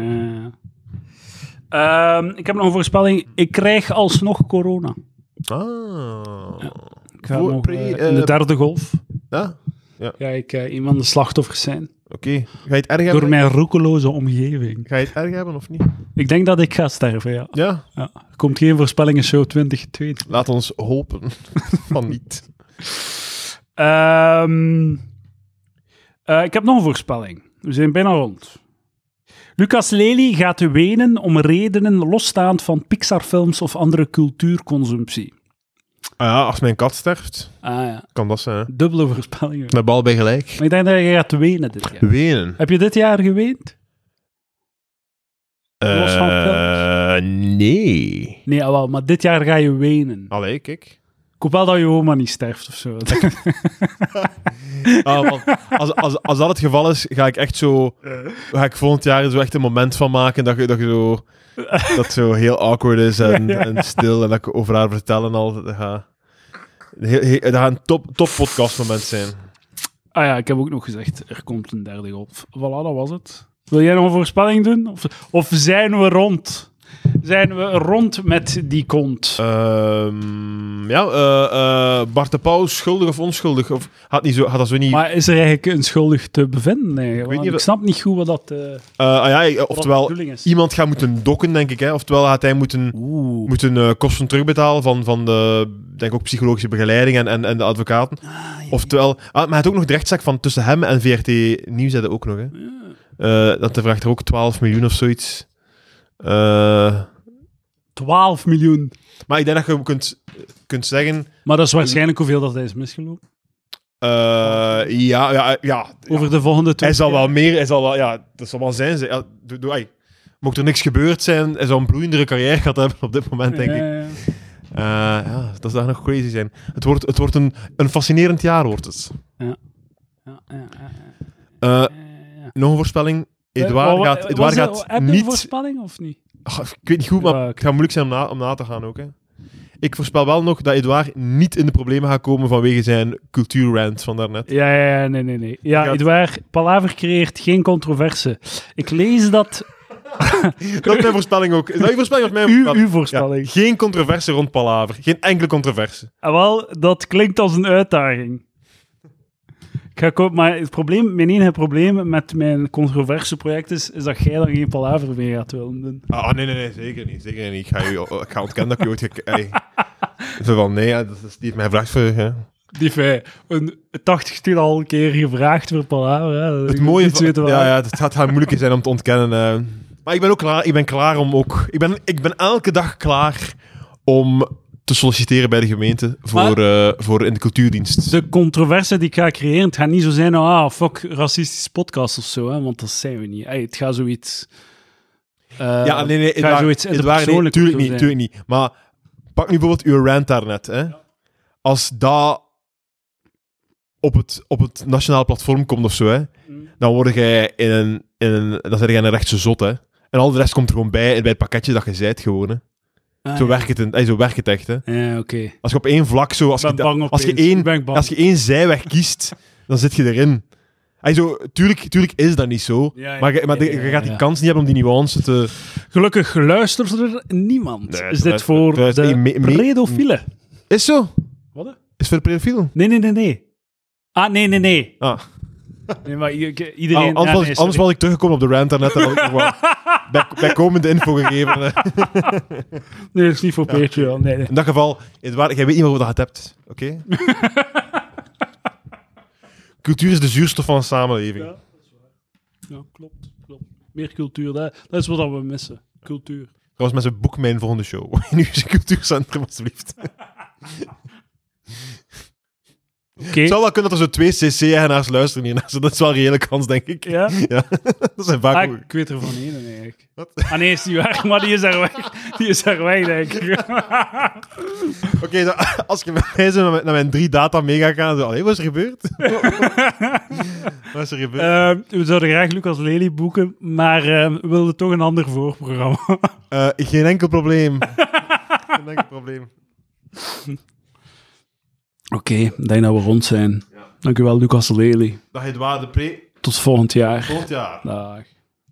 Ehm, ik heb nog een voorspelling. Ik krijg alsnog corona. Ah. Ik ga Voor- nog, pre- eh, in eh, de derde golf Ja, ga ik eh, een van de slachtoffers zijn. oké. Ga je het erg hebben? Door mijn roekeloze omgeving. Ga je het erg hebben of niet? Ik denk dat ik ga sterven, ja. Ja, ja. Er komt geen voorspellingen show 2020. laat ons hopen van niet. Ehm, eh, ik heb nog een voorspelling. We zijn bijna rond. Lucas Lely gaat wenen om redenen losstaand van Pixar-films of andere cultuurconsumptie. Ah ja, als mijn kat sterft, Ah ja, kan dat zijn. Hè? dubbele voorspellingen. Met bal bij gelijk. Maar ik denk dat je gaat wenen dit jaar. Wenen. Heb je dit jaar geweend? Los van Eh, nee. Nee, ah, wel, maar dit jaar ga je wenen. Allee, kijk. Ik hoop wel dat je oma niet sterft of zo. Ah, want als, als, als dat het geval is, ga ik echt zo... Ga ik volgend jaar zo echt een moment van maken dat je, dat je zo... Dat zo heel awkward is en, en stil. En dat ik over haar vertellen al... Dat gaat, heel, heel- dat gaat een top, top podcast moment zijn. Ah ja, ik heb ook nog gezegd, er komt een derde golf. Voilà, dat was het. Wil jij nog een voorspelling doen? Of, of zijn we rond? Zijn we rond met die kont? Ehm, ja, eh, eh, Bart de Pauw, schuldig of onschuldig? Of had, niet zo, had dat zo niet... maar is er eigenlijk een schuldig te bevinden? eigenlijk? Want Ik, weet niet of- snap niet goed wat dat, eh, wat Eh, ah ja, eh, de oftewel, bedoeling is. iemand gaat moeten dokken, denk ik. Hè? Oftewel gaat hij moeten... Oeh. moeten eh, kosten terugbetalen van, van de denk ook psychologische begeleiding en, en, en de advocaten. Oftewel, ah, maar hij had ook nog de rechtszaak van tussen hem en VRT Nieuws hadden ook nog. Hè. Eh, dat hij vraagt er ook 12 miljoen of zoiets. Eh, 12 miljoen. maar ik denk dat je kunt, kunt zeggen. Maar dat is waarschijnlijk hoeveel dat hij is misgelopen. eh, ja, ja, ja. Over de volgende twee Hij zal jaar. wel meer, hij zal wel, ja, dat zal wel zijn. ze- Ja, doe, doe, ai. Mocht er niks gebeurd zijn, hij zou een bloeiendere carrière gehad hebben op dit moment, denk ik. Ja, ja, Eh, ja, dat zou nog crazy zijn. Het wordt, het wordt een, een fascinerend jaar, wordt het. ja, ja, ja, ja, Eh, ja, ja. nog een voorspelling. Edouard Wat- gaat, wat- Edouard was er- gaat heb je een niet... voorspelling of niet? Ach, ik weet niet goed, maar Ja, oké. het gaat moeilijk zijn om, na, om na te gaan ook. Hè. Ik voorspel wel nog dat Edouard niet in de problemen gaat komen vanwege zijn cultuurrant van daarnet. Ja, ja, ja, nee, nee, nee. Ja, Ja, het- Edouard, Palaver creëert geen controverse. Ik lees dat, Dat is mijn voorspelling ook. Is dat je voorspelling of mijn u, voorspelling? uw voorspelling. Ja, geen controverse rond Palaver. Geen enkele controverse. Ah, wel, dat klinkt als een uitdaging. Ik ga ko- maar het probleem, mijn enige probleem met mijn controverse project is, is dat jij dan geen Palaver meer gaat willen doen. Ah, nee, nee, nee, zeker niet. Zeker niet. Ik ga, u, ik ga ontkennen dat ik u ooit... gek- Ey. Zo van, nee, ja, dat is, die heeft mij gevraagd voor... Hè. Die fei, een tachtigtal al keer gevraagd voor Palaver. hè. Het Ik mooie moet iets van- weten waar. ja, ja, het gaat haar moeilijk zijn om te ontkennen. eh. Maar ik ben ook klaar. Ik ben klaar om ook. Ik ben, ik ben elke dag klaar om te solliciteren bij de gemeente voor, eh, voor in de cultuurdienst. De controverse die ik ga creëren, het gaat niet zo zijn, oh, ah, fuck, racistische podcast of zo, hè, want dat zijn we niet. Ey, het gaat zoiets... eh, ja, nee, nee, het het gaat waren, zoiets het waren, nee, interpersoonlijk tuurlijk of zo niet, zijn. tuurlijk niet. Maar pak nu bijvoorbeeld uw rant daarnet. Hè. Als dat op het, op het nationaal platform komt of zo, hè, Mm. dan word jij in een, in een, dan zijn jij een rechtse zot. Hè. En al de rest komt er gewoon bij, bij het pakketje dat je zijt gewoon. Hè. Ah, Zo, ja. werkt het, in- ey, zo werkt het echt. Hè. Ja, oké. Als je op één vlak zo... Als Ik ben je, da- bang op als je één ben ik bang. als je één zijweg kiest, dan zit je erin. Hij zo, tuurlijk, tuurlijk is dat niet zo. Ja, ja, maar je, maar ja, je- ja, je gaat die ja. kans niet hebben om die nuance te... Gelukkig luistert er niemand. Nee, is dit luister- voor luister- de nee, me- me- predofielen? Is zo. Wat? hè? Is voor de pedofiel. Nee, nee, nee, nee. Ah, Oh, nee, nee, nee. Ah. Nee, maar i- i- iedereen... Ah, anders, ja, nee, was, anders sorry. was ik teruggekomen op de rant daarnet en had ik nog wat bij, bijkomende info gegeven. hè. Nee, dat is niet voor Patreon. Nee, nee. In dat geval, Edouard, jij weet niet meer wat je het hebt. Oké? Cultuur is de zuurstof van een samenleving. Ja. Ja, klopt, klopt. Meer cultuur, dat, dat is wat we missen. Cultuur. Trouwens, mensen, boek mijn volgende show. Nu is het cultuurcentrum, alsjeblieft. Oké. Het zou wel kunnen dat er zo twee CC-eigenaars luisteren hiernaar. zo. Dat is wel een reële kans, denk ik. Ja? Ja, dat zijn vaak Ah, ook- ik weet er van één eigenlijk. Ah nee, is niet waar, maar die is daar weg. Die is daar weg, denk ik. Oké, dan- als je met mij zo naar mijn, naar mijn drie data mee gaat gaan, dan allee, wat is er gebeurd? wat is er gebeurd? Eh, we zouden graag Lucas Lely boeken, maar eh, we wilden toch een ander voorprogramma. Eh, geen enkel probleem. geen enkel probleem. Oké, ik denk dat we rond zijn. Dankjewel, Lucas Lely. Dag Edouard de Pre, Tot volgend jaar. volgend jaar. Dag.